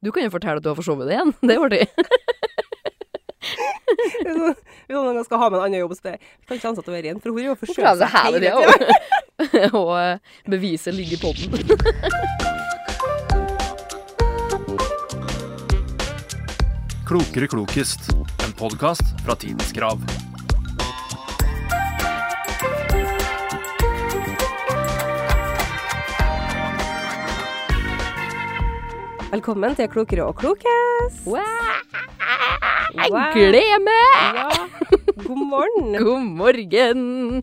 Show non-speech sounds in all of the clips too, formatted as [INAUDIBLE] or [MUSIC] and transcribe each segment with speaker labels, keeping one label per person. Speaker 1: Du kan jo fortelle at du har forsovet deg igjen. [LAUGHS] Det er artig.
Speaker 2: Hvis noen- hvis noen gang skal ha med en annen jobb, så det kan ikke ansette å være igjen, for hun har jo
Speaker 1: Hun
Speaker 2: forsøkt
Speaker 1: prøver
Speaker 2: seg
Speaker 1: seg her
Speaker 2: hele
Speaker 1: og det
Speaker 2: tiden.
Speaker 1: også. [LAUGHS] Og eh, beviset ligger i podden.
Speaker 3: Klokere klokest. En podkast fra Tidens Krav.
Speaker 2: Velkommen til Klokere og klokest.
Speaker 1: Wow,
Speaker 2: Wow.
Speaker 1: gled meg!
Speaker 2: Ja. God morgen.
Speaker 1: God morgen!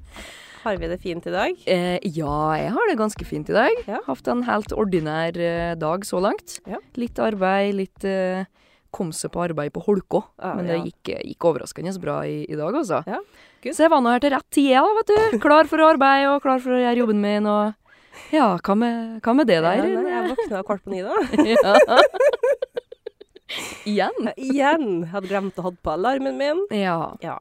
Speaker 2: Har vi det fint i dag?
Speaker 1: Eh, ja, jeg har det ganske fint i dag.
Speaker 2: Ja.
Speaker 1: Hatt en helt ordinær eh, dag så langt.
Speaker 2: Ja.
Speaker 1: Litt arbeid, litt eh, kom seg på arbeid på Holkå.
Speaker 2: Ja,
Speaker 1: Men det
Speaker 2: Ah, ja.
Speaker 1: gikk, eh, gikk overraskende så bra i, i dag, altså.
Speaker 2: Ja, good.
Speaker 1: Så jeg var nå her til rett tid, jeg da, vet
Speaker 2: [LAUGHS]
Speaker 1: du. Klar for arbeid og klar for å gjøre jobben min og Ja, hva med, hva med det der?
Speaker 2: Ja, nei, jeg våkna kvart på ni da.
Speaker 1: Ja. Igjen.
Speaker 2: [LAUGHS] Igjen. Hadde glemt å ha på alarmen min.
Speaker 1: Ja.
Speaker 2: Ja.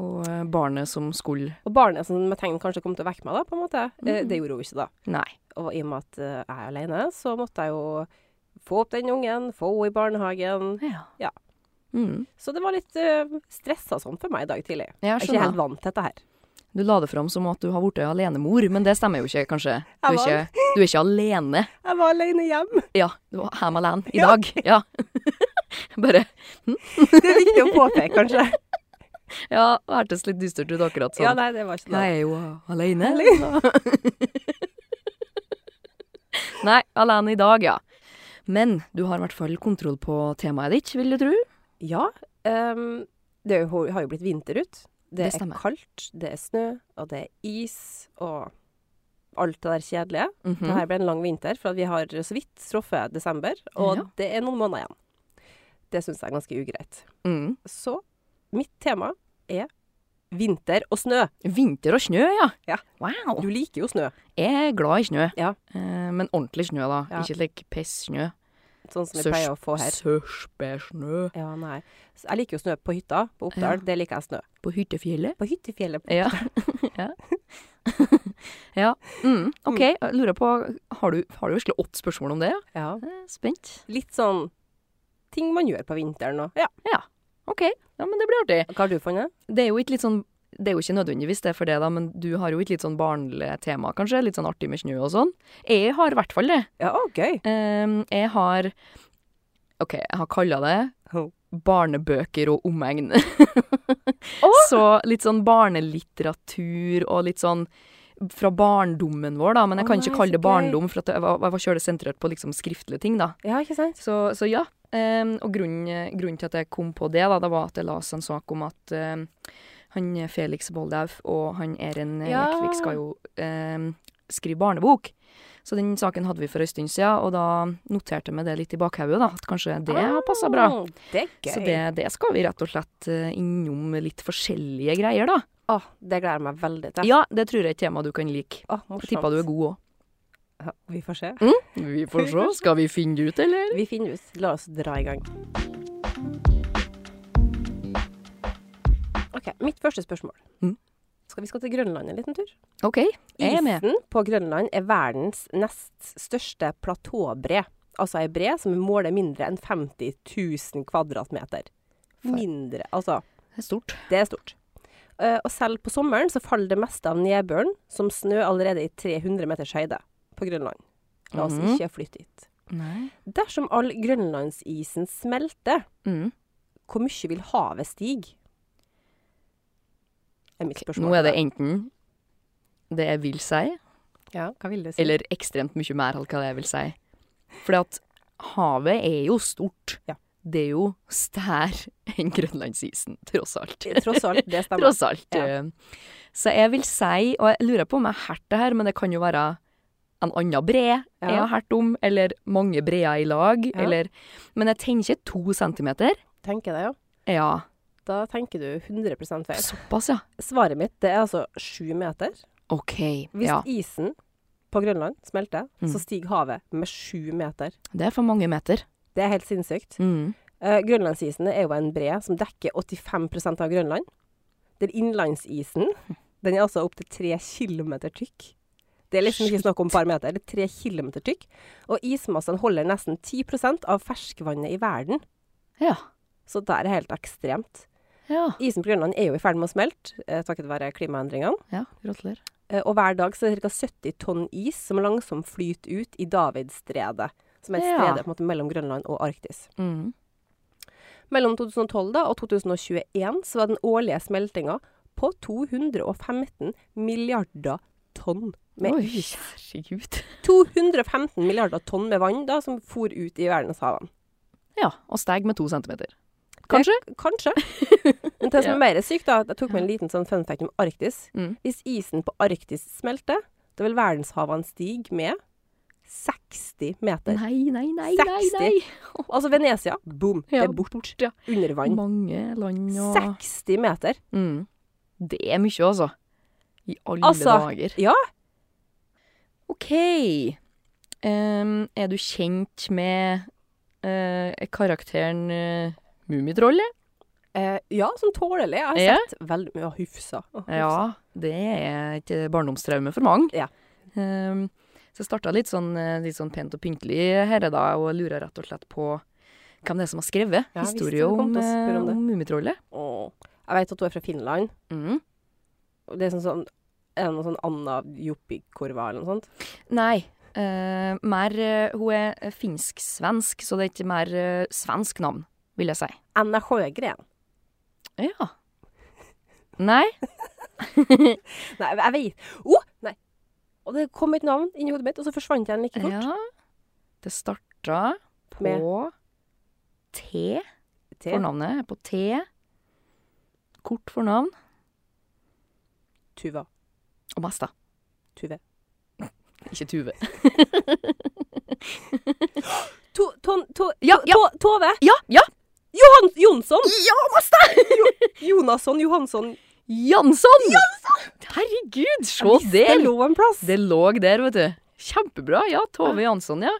Speaker 1: Og eh, barnet som skulle
Speaker 2: Og barnet som med tegn kanskje kom til å vekke meg, da, på en måte.
Speaker 1: Mm.
Speaker 2: Eh, Det gjorde hun ikke, da.
Speaker 1: Nei.
Speaker 2: Og i og med at eh, jeg er alene, så måtte jeg jo få opp den ungen, få henne i barnehagen.
Speaker 1: Ja.
Speaker 2: Ja.
Speaker 1: Mm.
Speaker 2: Så det var litt eh, stressa sånn for meg i dag tidlig.
Speaker 1: Jeg
Speaker 2: Jeg er ikke
Speaker 1: skjønner.
Speaker 2: helt vant til dette her.
Speaker 1: Du la det fram som at du har blitt alenemor, men det stemmer jo ikke, kanskje. Du er
Speaker 2: Jeg var-
Speaker 1: ikke, du er ikke alene.
Speaker 2: Jeg var alene hjem.
Speaker 1: Ja, du var hjemme alene i dag. Ja. [LAUGHS] Bare
Speaker 2: [LAUGHS] Det er viktig å påpeke, kanskje.
Speaker 1: Ja, det hørtes litt dystert ut akkurat
Speaker 2: Ja,
Speaker 1: sånn.
Speaker 2: nei, det var ikke noe.
Speaker 1: Jeg er jo alene. [LAUGHS] Nei, alene i dag, ja. Men du har i hvert fall kontroll på temaet ditt, vil du tro.
Speaker 2: Ja, ehm, det er jo- har jo blitt vinter ut. Det,
Speaker 1: Det stemmer.
Speaker 2: er kaldt, det er snø, og det er is, og alt det der kjedelige.
Speaker 1: Mhm.
Speaker 2: Dette ble en lang vinter, for at vi har så vidt truffet desember, og
Speaker 1: Ja.
Speaker 2: det er noen måneder igjen. Det syns jeg er ganske ugreit.
Speaker 1: mm.
Speaker 2: Så mitt tema er vinter og snø.
Speaker 1: Vinter og snø, ja.
Speaker 2: Ja.
Speaker 1: Wow.
Speaker 2: Du liker jo snø,
Speaker 1: Jeg er glad i snø.
Speaker 2: Ja.
Speaker 1: Eh, men ordentlig snø, da.
Speaker 2: Ja.
Speaker 1: Ikke like piss-snø.
Speaker 2: sånn som vi
Speaker 1: Sørs-
Speaker 2: pleier å få her.
Speaker 1: Sørspesnø.
Speaker 2: Ja, nei. Så Jeg liker jo snø på hytta, på Oppdal. Det liker jeg snø.
Speaker 1: På hyttefjellet.
Speaker 2: På hyttefjellet.
Speaker 1: Ja. ja. ja. Mm, OK, jeg lurer på Har du, har du virkelig åtte spørsmål om det? ja?
Speaker 2: Ja.
Speaker 1: Jeg er Spent.
Speaker 2: Litt sånn ting man gjør på vinteren og Ja.
Speaker 1: OK. Ja, men det blir artig.
Speaker 2: Hva har du funnet?
Speaker 1: Det er jo ikke litt sånn det er jo ikke nødvendigvis det for det, da, men du har jo et litt sånn barnlig tema, kanskje? Litt sånn artig med snø og sånn? Jeg har i hvert fall det.
Speaker 2: Ja, å, gøy.
Speaker 1: Ehm, jeg har OK, jeg har kalla det
Speaker 2: Ho.
Speaker 1: Barnebøker og omegn.
Speaker 2: Åh!
Speaker 1: [LAUGHS] Så litt sånn barnelitteratur og litt sånn fra barndommen vår, da. Men jeg
Speaker 2: Å
Speaker 1: kan
Speaker 2: nei,
Speaker 1: ikke kalle det
Speaker 2: så gøy.
Speaker 1: barndom, for at jeg var, jeg var kjølig sentrert på liksom skriftlige ting, da.
Speaker 2: Ja, ikke sant?
Speaker 1: Så, så ja. Ehm, og grunnen, grunnen til at jeg kom på det, da, det var at jeg leste en sak om at ehm, han Felix Boldauf og han Eren
Speaker 2: Ja.
Speaker 1: Lekvik skal jo ehm, skrive barnebok. Så den saken hadde vi for en stund siden, og da noterte jeg meg det litt i bakhodet, da. At kanskje det har passa bra.
Speaker 2: Ah, Det er gøy.
Speaker 1: Så det, det skal vi rett og slett eh, innom litt forskjellige greier, da.
Speaker 2: Åh, det gleder jeg meg veldig til.
Speaker 1: Ja, det tror jeg er et tema du kan like.
Speaker 2: Åh,
Speaker 1: Jeg
Speaker 2: morsomt.
Speaker 1: tipper du er god òg.
Speaker 2: Ja, vi får se.
Speaker 1: Vi får se. Skal vi finne det ut, eller?
Speaker 2: Vi finner ut. La oss dra i gang. OK, mitt første spørsmål.
Speaker 1: Mm.
Speaker 2: Skal vi skal til Grønland en liten tur?
Speaker 1: OK, jeg er med.
Speaker 2: Isen på Grønland er verdens nest største platåbre. Altså ei bre som måler mindre enn 50 000 kvadratmeter.
Speaker 1: For-
Speaker 2: Mindre, altså.
Speaker 1: Det er stort.
Speaker 2: Det er stort. Eh, og selv på sommeren så faller det meste av nedbøren som snø allerede i 300 meters høyde på Grønland. La oss
Speaker 1: Mhm.
Speaker 2: ikke flytte dit.
Speaker 1: Nei.
Speaker 2: Dersom all grønlandsisen smelter,
Speaker 1: Mm.
Speaker 2: hvor mye vil havet stige? Er mitt spørsmål.
Speaker 1: Nå er det enten det jeg vil si,
Speaker 2: Ja, hva vil du si?
Speaker 1: eller ekstremt mye mer enn hva jeg vil si. Fordi at havet er jo stort.
Speaker 2: Ja.
Speaker 1: Det er jo stær enn grønlandsisen, tross alt.
Speaker 2: Tross alt,
Speaker 1: [LAUGHS]
Speaker 2: det stemmer.
Speaker 1: Tross alt.
Speaker 2: Ja.
Speaker 1: eh. Så jeg vil si, og jeg lurer på om jeg har hørt det her, men det kan jo være en annen bre jeg har hørt om, eller mange breer i lag,
Speaker 2: Ja.
Speaker 1: eller Men jeg tenker to centimeter.
Speaker 2: Tenker det, ja.
Speaker 1: Ja,
Speaker 2: Da tenker du 100 feil.
Speaker 1: såpass, ja.
Speaker 2: Svaret mitt det er altså sju meter.
Speaker 1: OK.
Speaker 2: Hvis
Speaker 1: Ja,
Speaker 2: isen på Grønland smelter,
Speaker 1: Mm.
Speaker 2: så stiger havet med sju meter.
Speaker 1: det er for mange meter.
Speaker 2: Det er helt sinnssykt.
Speaker 1: Mm.
Speaker 2: Eh, Grønlandsisen er jo en bre som dekker 85 av Grønland. Den innlandsisen den er altså opptil tre kilometer tykk. Det er liksom ikke snakk om et par meter. Det er tre kilometer tykk. Og ismassene holder nesten 10 av ferskvannet i verden.
Speaker 1: Ja.
Speaker 2: Så det er helt ekstremt.
Speaker 1: Ja.
Speaker 2: Isen på Grønland er jo i ferd med å smelte eh, takket være klimaendringene.
Speaker 1: ja gratulerer.
Speaker 2: Eh, og hver dag så er det ca. 70 tonn is som langsomt flyter ut i Davidstredet. Som er et
Speaker 1: Ja.
Speaker 2: strede på en måte mellom Grønland og Arktis.
Speaker 1: Mm.
Speaker 2: Mellom 2012 da, og 2021 så var den årlige smeltinga på 215 milliarder tonn. Med
Speaker 1: Oi, herregud.
Speaker 2: 215 milliarder tonn med vann da, som for ut i verdenshavene.
Speaker 1: Ja, og steg med to centimeter. Kanskje?
Speaker 2: Det,
Speaker 1: [LAUGHS]
Speaker 2: kanskje. Men det som er mer sykt, da, at jeg tok med en liten sånn fun fact om Arktis.
Speaker 1: Mm.
Speaker 2: Hvis isen på Arktis smelter, da vil verdenshavene stige med 60 meter.
Speaker 1: Nei, nei, nei, nei,
Speaker 2: 60.
Speaker 1: nei.
Speaker 2: Altså Venezia, boom, det
Speaker 1: Ja,
Speaker 2: er bort.
Speaker 1: ja.
Speaker 2: Under vann.
Speaker 1: Mange land og
Speaker 2: 60 meter.
Speaker 1: mm. Det er mye, altså. I alle
Speaker 2: Altså,
Speaker 1: dager.
Speaker 2: ja.
Speaker 1: OK. Em, er du kjent med eh, karakteren uh, Mummitrollet?
Speaker 2: Eh, ja, som tålelig. Jeg har
Speaker 1: Ja.
Speaker 2: sett veldig mye av Hufsa. Å, Hufsa.
Speaker 1: Ja, det er et eh, barndomstraume for mange.
Speaker 2: Ja.
Speaker 1: Em, så jeg starta litt, sånn, eh, litt sånn pent og pyntelig her, da, og lurer rett og slett på hvem det er som har skrevet
Speaker 2: Ja, jeg visste
Speaker 1: historien
Speaker 2: du kom
Speaker 1: om,
Speaker 2: til å spørre
Speaker 1: eh,
Speaker 2: om det.
Speaker 1: om Mummitrollet.
Speaker 2: Å. Jeg vet at hun er fra Finland.
Speaker 1: Mm.
Speaker 2: Og Det er sånn, sånn er det noe sånn Anna Juppikorva eller noe sånt?
Speaker 1: Nei. eh, mer, eh, hun er eh, finsk-svensk, så det er ikke mer eh, svensk navn, vil jeg si.
Speaker 2: Anna Sjögren.
Speaker 1: Ja. Nei?
Speaker 2: Nei, jeg vet oh, nei. Og det kom et navn inni hodet mitt, og så forsvant jeg den like fort.
Speaker 1: Ja. Det starta på T.
Speaker 2: Til
Speaker 1: Fornavnet er på T. Kort fornavn.
Speaker 2: Tuva.
Speaker 1: Og mest, da.
Speaker 2: Tuve.
Speaker 1: Ikke Tuve.
Speaker 2: To, ton, to,
Speaker 1: Ja,
Speaker 2: to,
Speaker 1: ja.
Speaker 2: To, Tove!
Speaker 1: Ja! Ja!
Speaker 2: Johan, Jonsson!
Speaker 1: Ja, Masta!
Speaker 2: Jonasson Johansson.
Speaker 1: Jansson! Herregud, se
Speaker 2: Det
Speaker 1: der!
Speaker 2: lå en plass.
Speaker 1: Det lå der, vet du. Kjempebra. Ja, Tove Jansson, ja.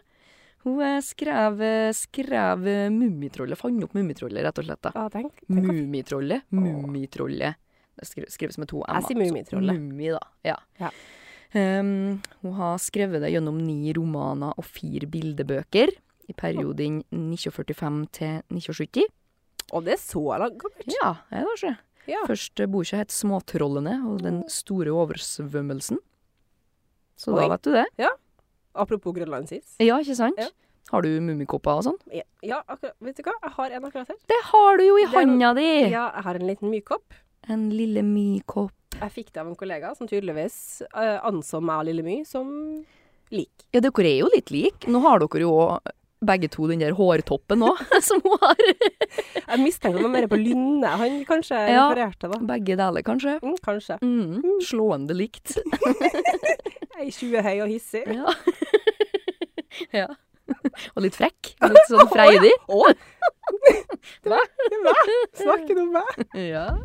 Speaker 1: Hun eh, skrev, eh, skrev eh, Mummitrollet. Fant opp Mummitrollet, rett og slett. da.
Speaker 2: Ja, tenk. tenk hva-
Speaker 1: Mummitrollet. Mummitrollet. Det skri- skrives med to m.
Speaker 2: Jeg sier Mummitrollet.
Speaker 1: Mummi, da. Ja.
Speaker 2: Ja.
Speaker 1: Ehm, hun har skrevet det gjennom ni romaner og fire bildebøker i perioden 1945 til 1970.
Speaker 2: Og det er så langt gammelt.
Speaker 1: Ja, det er det kanskje. eh,
Speaker 2: Ja.
Speaker 1: Første boka het 'Småtrollene og den store oversvømmelsen'. Så
Speaker 2: Oi.
Speaker 1: da vet du det.
Speaker 2: Apropos grønlandsis.
Speaker 1: Ja, ikke sant?
Speaker 2: Ja.
Speaker 1: Har du mummikopper og sånn?
Speaker 2: Ja, Ja, akkurat. Vet du hva? Jeg har en akkurat her.
Speaker 1: Det har du jo i
Speaker 2: Det er-
Speaker 1: handa di!
Speaker 2: Ja, jeg har en liten mykopp.
Speaker 1: En lille mykopp.
Speaker 2: Jeg fikk det av en kollega som tydeligvis eh, anså meg og Lille My som lik.
Speaker 1: Ja, dere er jo litt like. Nå har dere jo også begge to den der hårtoppen òg, [LAUGHS] som hun har.
Speaker 2: Jeg mistenker meg mer på Lynne. Han [LAUGHS] kanskje
Speaker 1: Ja.
Speaker 2: refererte, da.
Speaker 1: Begge deler, kanskje.
Speaker 2: Mm, kanskje.
Speaker 1: Mm, slående likt.
Speaker 2: Ei 20 høy og hissig.
Speaker 1: [LAUGHS]
Speaker 2: [LAUGHS]
Speaker 1: Ja. [LAUGHS] ja. Og litt frekk. Litt [LAUGHS] sånn freidig.
Speaker 2: Å!
Speaker 1: Hva?
Speaker 2: Hva? Snakker du om meg?
Speaker 1: Ja.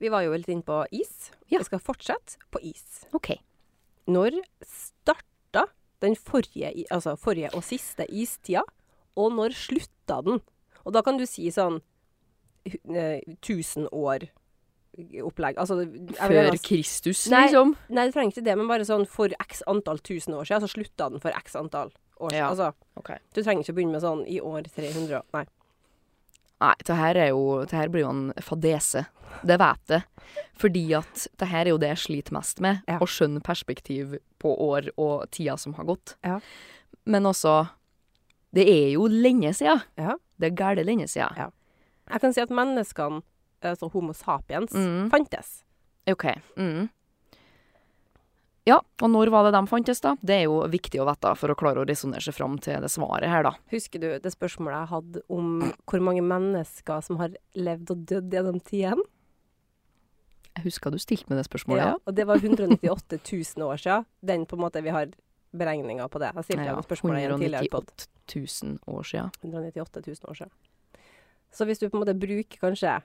Speaker 2: Vi var jo litt inne på is.
Speaker 1: Ja.
Speaker 2: Vi skal fortsette på is.
Speaker 1: OK.
Speaker 2: Når starta den forrige, i- altså forrige og siste istida, og når slutta den? Og da kan du si sånn hu- eh, 1000 år opplegg. Altså, jeg vil
Speaker 1: Før
Speaker 2: gjerne-
Speaker 1: Kristus,
Speaker 2: Nei.
Speaker 1: liksom.
Speaker 2: Nei, det trenger ikke det, men bare sånn for x antall tusen år siden, så slutta den for x antall år siden.
Speaker 1: Ja.
Speaker 2: Altså,
Speaker 1: Ok.
Speaker 2: du trenger ikke å begynne med sånn i år 300 og- Nei.
Speaker 1: Nei, det her, er jo, det her blir jo en fadese. Det vet jeg. Fordi at det her er jo det jeg sliter mest med.
Speaker 2: Ja.
Speaker 1: Å skjønne perspektiv på år og tida som har gått.
Speaker 2: Ja.
Speaker 1: Men også Det er jo lenge sia.
Speaker 2: Ja.
Speaker 1: Det er gæle lenge sia.
Speaker 2: Ja. Jeg kan si at menneskene, altså Homo sapiens,
Speaker 1: Mm.
Speaker 2: fantes.
Speaker 1: OK. Mm. Ja, og når var det de fantes, da? Det er jo viktig å vite for å klare å resonnere seg fram til det svaret her, da.
Speaker 2: Husker du det spørsmålet jeg hadde om hvor mange mennesker som har levd og dødd gjennom tiden?
Speaker 1: Jeg husker du stilte meg det spørsmålet.
Speaker 2: Og det var 198 000 år siden. Den på en måte vi har beregninger på det. Jeg stilte ja, spørsmålet i en tidligere podd.
Speaker 1: 198 000 år sia.
Speaker 2: 198 000 år siden. Så hvis du på en måte bruker kanskje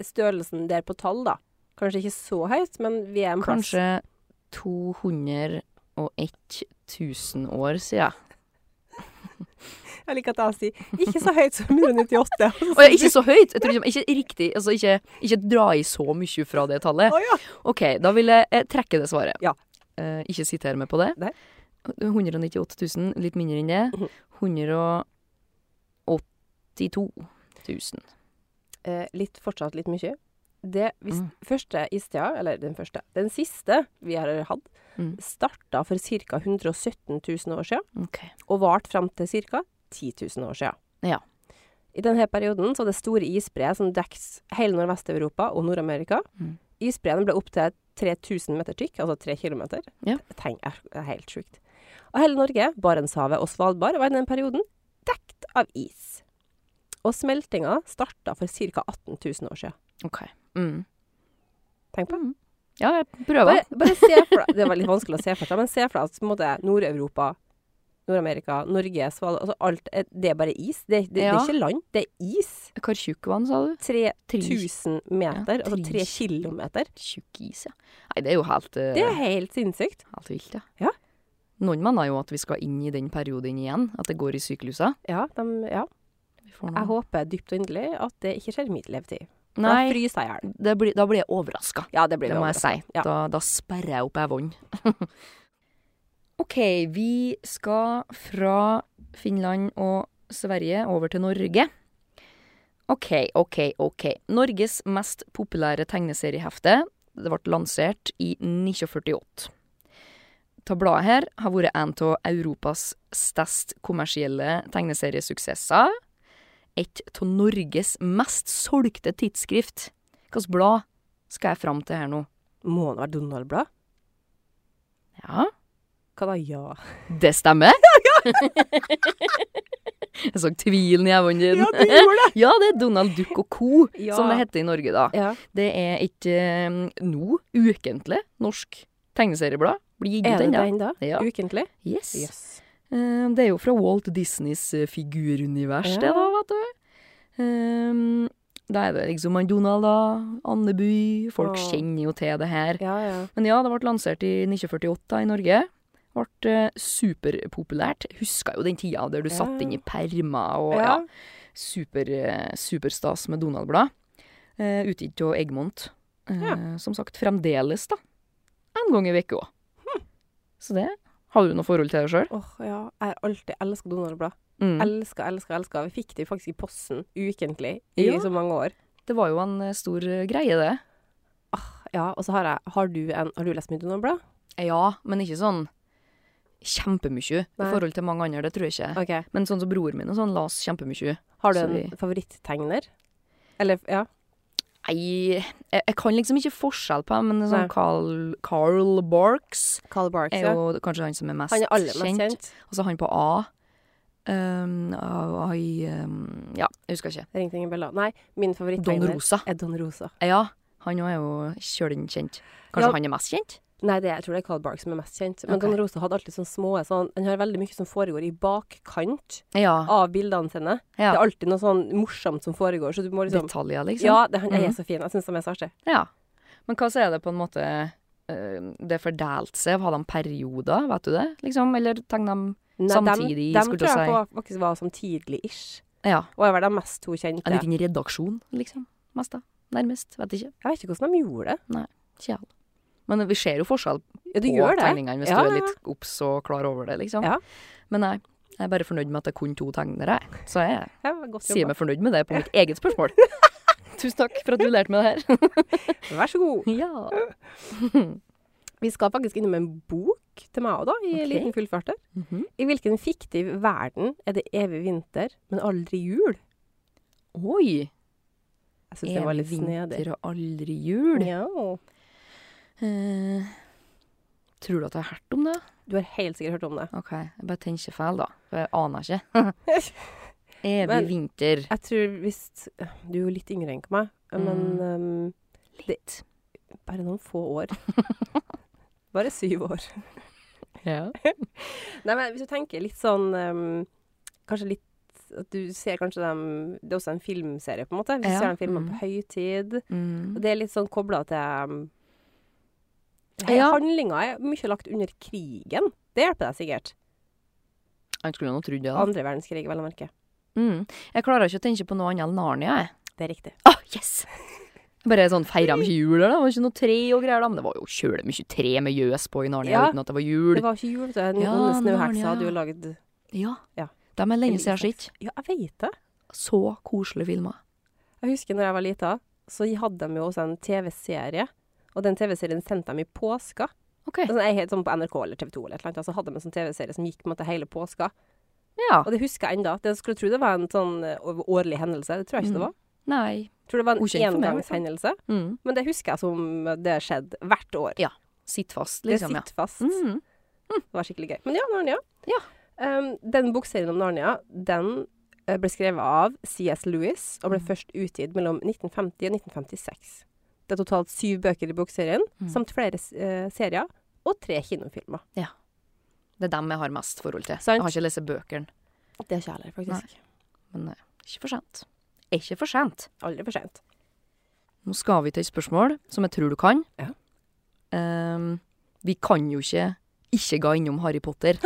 Speaker 2: størrelsen der på tall, da. Kanskje ikke så høyt, men vi er en plass.
Speaker 1: Kanskje 201 000 år siden.
Speaker 2: Jeg liker at jeg sier ikke så høyt som 198.
Speaker 1: Og jeg, ikke så høyt! Jeg tror ikke, ikke riktig, altså ikke, ikke dra i så mye fra det tallet.
Speaker 2: [LAUGHS] Å ja.
Speaker 1: OK, da vil jeg, jeg trekke det svaret.
Speaker 2: Ja.
Speaker 1: Eh, ikke siter meg på det.
Speaker 2: Nei.
Speaker 1: 198 000, litt mindre enn det.
Speaker 2: Mhm.
Speaker 1: 182 000.
Speaker 2: Eh, litt, fortsatt litt mye. Det hvis,
Speaker 1: Mm.
Speaker 2: første istia, eller den første, den siste vi har hatt,
Speaker 1: Mm.
Speaker 2: starta for ca. 117 000 år siden,
Speaker 1: OK.
Speaker 2: og varte fram til ca. 10 000 år siden.
Speaker 1: Ja.
Speaker 2: I denne perioden så er det store isbreer som dekker hele Nordvest-Europa og Nord-Amerika.
Speaker 1: Mm.
Speaker 2: Isbreene ble opptil 3000 meter tykk, altså 3 kilometer.
Speaker 1: Ja.
Speaker 2: Tenk, er, er helt sjukt. Og hele Norge, Barentshavet og Svalbard var i den perioden dekt av is. Og smeltinga starta for ca. 18 000 år siden.
Speaker 1: ok. Mm.
Speaker 2: Tenk på det.
Speaker 1: Ja, jeg prøver.
Speaker 2: Bare, bare se for deg Det var litt vanskelig å se for seg, men se for deg at på en måte, Nord-Europa, Nord-Amerika, Norge, Svalbard altså alt, eh, Det er bare is. Det, det, det
Speaker 1: Ja.
Speaker 2: er ikke land, det er is.
Speaker 1: Hvor tjukk var den, sa du?
Speaker 2: 3000 meter,
Speaker 1: Ja,
Speaker 2: altså 3
Speaker 1: tre-
Speaker 2: kilometer.
Speaker 1: Tjukk is, ja. Nei, det er jo helt, eh,
Speaker 2: Det er helt sinnssykt.
Speaker 1: helt vilt, ja.
Speaker 2: Ja.
Speaker 1: Noen mener jo at vi skal inn i den perioden igjen, at det går i sykluser.
Speaker 2: Ja, de, ja.
Speaker 1: Vi får nå-
Speaker 2: Jeg håper dypt og inderlig at det ikke skjer i mitt levetid. Da
Speaker 1: Nei,
Speaker 2: fryser jeg i hjel.
Speaker 1: det blir, da blir jeg overraska.
Speaker 2: Ja, det blir
Speaker 1: Det
Speaker 2: det.
Speaker 1: må jeg si.
Speaker 2: Ja.
Speaker 1: Da, da sperrer jeg opp evnen. [LAUGHS] OK, vi skal fra Finland og Sverige over til Norge. OK, OK, OK. Norges mest populære tegneseriehefte. Det ble lansert i 1948. Ta bladet her har vært en av Europas størst kommersielle tegneseriesuksesser. Et av Norges mest solgte tidsskrift. Hvilket blad skal jeg fram til her nå?
Speaker 2: Må det være Donald-blad?
Speaker 1: Ja,
Speaker 2: Hva da? Ja.
Speaker 1: det stemmer. [LAUGHS] jeg så tvilen i øynene
Speaker 2: [LAUGHS]
Speaker 1: dine.
Speaker 2: du gjorde det!
Speaker 1: Ja, det er Donald Duck og co.,
Speaker 2: Ja.
Speaker 1: som det heter i Norge, da.
Speaker 2: Ja.
Speaker 1: Det er et eh, nå ukentlig norsk tegneserieblad. Blir gitt
Speaker 2: Er
Speaker 1: ut
Speaker 2: det
Speaker 1: ennå.
Speaker 2: den, da?
Speaker 1: Ja.
Speaker 2: Ukentlig?
Speaker 1: Yes.
Speaker 2: Yes.
Speaker 1: Eh, det er jo fra Walt Disneys eh, figurunivers, det, da, vet du. Um, da er det liksom han Donald, da. Andeby. Folk
Speaker 2: Åh.
Speaker 1: kjenner jo til det her.
Speaker 2: Ja, ja.
Speaker 1: Men ja, det ble lansert i 1948 i Norge. Ble eh, superpopulært. Huska jo den tida der du
Speaker 2: Ja.
Speaker 1: satt inn i permer og ja, super, eh, superstas med Donald-blad. Eh, Utgitt av Egmont. Eh,
Speaker 2: Ja.
Speaker 1: Som sagt, fremdeles, da. En gang i uka òg. Så det Har du noe forhold til det sjøl?
Speaker 2: Åh, ja. Jeg har alltid elska Donald-blad.
Speaker 1: Mm.
Speaker 2: Elska, elska, elska. Vi fikk det jo faktisk i posten ukentlig i
Speaker 1: Ja.
Speaker 2: så mange år.
Speaker 1: Det var jo en eh, stor eh, greie, det.
Speaker 2: Ja, og så har jeg Har du, en, har du lest mye Donald-blad?
Speaker 1: Ja, men ikke sånn kjempemye i
Speaker 2: Nei.
Speaker 1: forhold til mange andre. Det tror jeg ikke.
Speaker 2: Ok.
Speaker 1: Men sånn som broren min og sånn, las kjempemye.
Speaker 2: Har du
Speaker 1: Så
Speaker 2: en
Speaker 1: vi-
Speaker 2: favoritttegner? Eller, ja.
Speaker 1: Nei, jeg, jeg kan liksom ikke forskjell på dem, men det er
Speaker 2: Nei.
Speaker 1: sånn Carl, Carl Barks
Speaker 2: Carl Barks,
Speaker 1: er
Speaker 2: ja.
Speaker 1: jo kanskje han som er mest
Speaker 2: Han er aller mest
Speaker 1: kjent.
Speaker 2: kjent.
Speaker 1: Altså han på A. Um, ah, ai, um, ja, jeg husker ikke.
Speaker 2: Ringte ingen bjeller. Nei, min
Speaker 1: Don
Speaker 2: favoritttegner
Speaker 1: Rosa.
Speaker 2: er Don Rosa.
Speaker 1: Ja, han også er jo kjølen kjent. Kanskje
Speaker 2: Ja.
Speaker 1: han er mest kjent?
Speaker 2: Nei, det, jeg tror det er Carl Barks som er mest kjent. Men
Speaker 1: Ok.
Speaker 2: Don Rosa hadde alltid sånne små sånn, Han har veldig mye som foregår i bakkant
Speaker 1: Ja.
Speaker 2: av bildene sine.
Speaker 1: Ja.
Speaker 2: Det er alltid noe sånn morsomt som foregår, så du må liksom
Speaker 1: Detaljer, liksom.
Speaker 2: Ja, det, han
Speaker 1: Mhm.
Speaker 2: er så fin. Jeg syns han er så artig.
Speaker 1: Ja. Men hva så er det på en måte eh, Det fordelte seg? Hadde de perioder, vet du det? Liksom? Eller tegna de
Speaker 2: Nei,
Speaker 1: Samtidig,
Speaker 2: dem, dem
Speaker 1: skulle
Speaker 2: tror
Speaker 1: jeg
Speaker 2: jeg på- faktisk var samtidig-ish.
Speaker 1: Ja.
Speaker 2: Og jeg var de mest to kjente.
Speaker 1: En liten redaksjon, liksom? Mest, da. Nærmest. Vet ikke.
Speaker 2: Jeg vet ikke hvordan de gjorde det.
Speaker 1: Tja. Men vi ser jo forskjell
Speaker 2: Ja, du
Speaker 1: på
Speaker 2: gjør det.
Speaker 1: tegningene hvis
Speaker 2: Ja,
Speaker 1: du
Speaker 2: ja,
Speaker 1: er
Speaker 2: ja.
Speaker 1: litt obs og klar over det, liksom.
Speaker 2: Ja.
Speaker 1: Men nei, jeg er bare fornøyd med at det er kun to tegnere, jeg. så jeg
Speaker 2: Ja, godt
Speaker 1: sier
Speaker 2: jobba.
Speaker 1: meg fornøyd med det
Speaker 2: [LAUGHS]
Speaker 1: på mitt eget spørsmål. Tusen takk for at du lærte meg det her.
Speaker 2: Vær så god.
Speaker 1: ja.
Speaker 2: Vi skal faktisk innom en bok til meg òg, da, i
Speaker 1: Ok.
Speaker 2: en liten fullførter.
Speaker 1: Mhm.
Speaker 2: I hvilken fiktiv verden er det evig vinter, men aldri jul?
Speaker 1: Oi!
Speaker 2: Jeg syns det var litt snedig.
Speaker 1: vinter og aldri jul.
Speaker 2: Ja.
Speaker 1: Eh, tror du at jeg har hørt om det?
Speaker 2: Du har helt sikkert hørt om det.
Speaker 1: OK, jeg bare tenker feil, da. For jeg aner ikke.
Speaker 2: [LAUGHS]
Speaker 1: Evig
Speaker 2: Men-
Speaker 1: vinter.
Speaker 2: Jeg tror hvis Du er jo litt yngre enn meg, men um,
Speaker 1: Mm. Litt.
Speaker 2: bare noen få år. [LAUGHS] Bare syv år.
Speaker 1: Ja.
Speaker 2: Nei, men hvis du tenker litt sånn um, Kanskje litt at du ser kanskje dem Det er også en filmserie, på en måte. Hvis du
Speaker 1: Ja.
Speaker 2: ser dem filmer
Speaker 1: Mm.
Speaker 2: på høytid.
Speaker 1: Mm.
Speaker 2: Og det er litt sånn kobla til um,
Speaker 1: Ja.
Speaker 2: Handlinga er mye lagt under krigen. Det hjelper deg sikkert.
Speaker 1: Han skulle nå trodd det. da.
Speaker 2: Andre verdenskrig, vel å merke.
Speaker 1: Mm. Jeg klarer ikke å tenke på noe annet enn Narnia, jeg.
Speaker 2: Det er riktig.
Speaker 1: Ah, yes! Bare sånn feira mye jul, eller? Det var ikke noe tre og greier, da. Men det var jo kjølig mye tre med gjøs på i Narnia
Speaker 2: Ja.
Speaker 1: uten at det var
Speaker 2: Det
Speaker 1: jul.
Speaker 2: var ikke jul, det er
Speaker 1: Ja,
Speaker 2: noen snøhekser
Speaker 1: Narnia.
Speaker 2: du har laget
Speaker 1: Ja.
Speaker 2: Ja.
Speaker 1: De er lenge siden jeg har sett.
Speaker 2: Ja, jeg veit det.
Speaker 1: Så koselige filmer.
Speaker 2: Jeg husker når jeg var lita, så hadde de jo også en TV-serie. Og den TV-serien sendte de i påska.
Speaker 1: OK.
Speaker 2: Altså, jeg er helt sånn på NRK eller TV 2 eller et eller annet, og så hadde de en sånn TV-serie som gikk på en måte hele påska.
Speaker 1: Ja.
Speaker 2: Og det husker jeg ennå. Jeg skulle tro det var en sånn eh, årlig hendelse. Det tror jeg ikke det var.
Speaker 1: Nei.
Speaker 2: Jeg tror det var en
Speaker 1: Ukjent Mm. for meg, i hvert fall.
Speaker 2: engangshendelse.
Speaker 1: Mm.
Speaker 2: Men det husker jeg som det skjedde hvert år.
Speaker 1: Sitt fast,
Speaker 2: Det
Speaker 1: liksom. Ja.
Speaker 2: sitter fast.
Speaker 1: Mm.
Speaker 2: Det var skikkelig gøy. Men ja, Narnia.
Speaker 1: Ja.
Speaker 2: Um, den bokserien om Narnia, den eh, ble skrevet av C.S. Lewis og ble
Speaker 1: Mm.
Speaker 2: først utgitt mellom 1950 og 1956. Det er totalt syv bøker i bokserien,
Speaker 1: Mm.
Speaker 2: samt flere eh, serier og tre kinofilmer.
Speaker 1: Det er dem jeg har mest forhold til.
Speaker 2: Sant.
Speaker 1: Jeg har ikke lest bøkene,
Speaker 2: Det er ikke jeg heller, faktisk.
Speaker 1: men eh, ikke for sent. Er ikke for sent.
Speaker 2: Aldri for sent.
Speaker 1: Nå skal vi til et spørsmål som jeg tror du kan.
Speaker 2: Ja.
Speaker 1: Ehm, vi kan jo ikke ikke gå innom Harry [GASPS] Potter.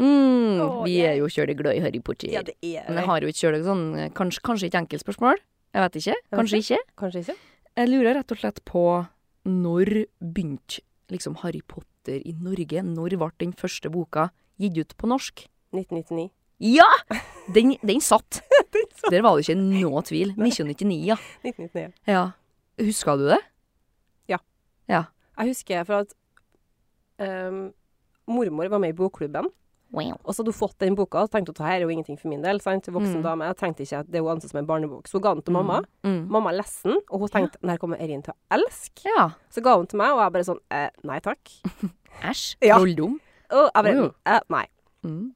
Speaker 1: Mm,
Speaker 2: Åh,
Speaker 1: vi er jo kjølig glad i Harry Potter.
Speaker 2: Ja, det er
Speaker 1: Men jeg
Speaker 2: det.
Speaker 1: har jo ikke kjølig sånn eh, kanskje, kanskje ikke enkeltspørsmål. Jeg vet ikke. Kanskje ikke.
Speaker 2: Kanskje ikke?
Speaker 1: Jeg lurer rett og slett på når begynte liksom Harry Potter i Norge? Når ble den første boka gitt ut på norsk?
Speaker 2: 1999.
Speaker 1: [LAUGHS] Ja! Den, den satt. Der var det ikke noe tvil. 1999, ja.
Speaker 2: 1999.
Speaker 1: ja. Huska du det?
Speaker 2: Jeg husker for at ehm, mormor var med i bokklubben,
Speaker 1: Wow.
Speaker 2: og så hadde hun fått den boka og tenkte at det her er jo ingenting for min del. sant? Voksen
Speaker 1: Mm.
Speaker 2: dame. Jeg tenkte ikke at det er jo ansett som en barnebok. Så hun ga den til mamma.
Speaker 1: Mm.
Speaker 2: Mamma leste den, og hun tenkte den her kommer Eirin til å elske.
Speaker 1: Ja.
Speaker 2: Så ga hun til meg, og jeg bare sånn eh, nei takk.
Speaker 1: Æsj.
Speaker 2: Ja.
Speaker 1: Trolldom.
Speaker 2: Og jeg bare
Speaker 1: Å,
Speaker 2: eh, nei.
Speaker 1: Mm.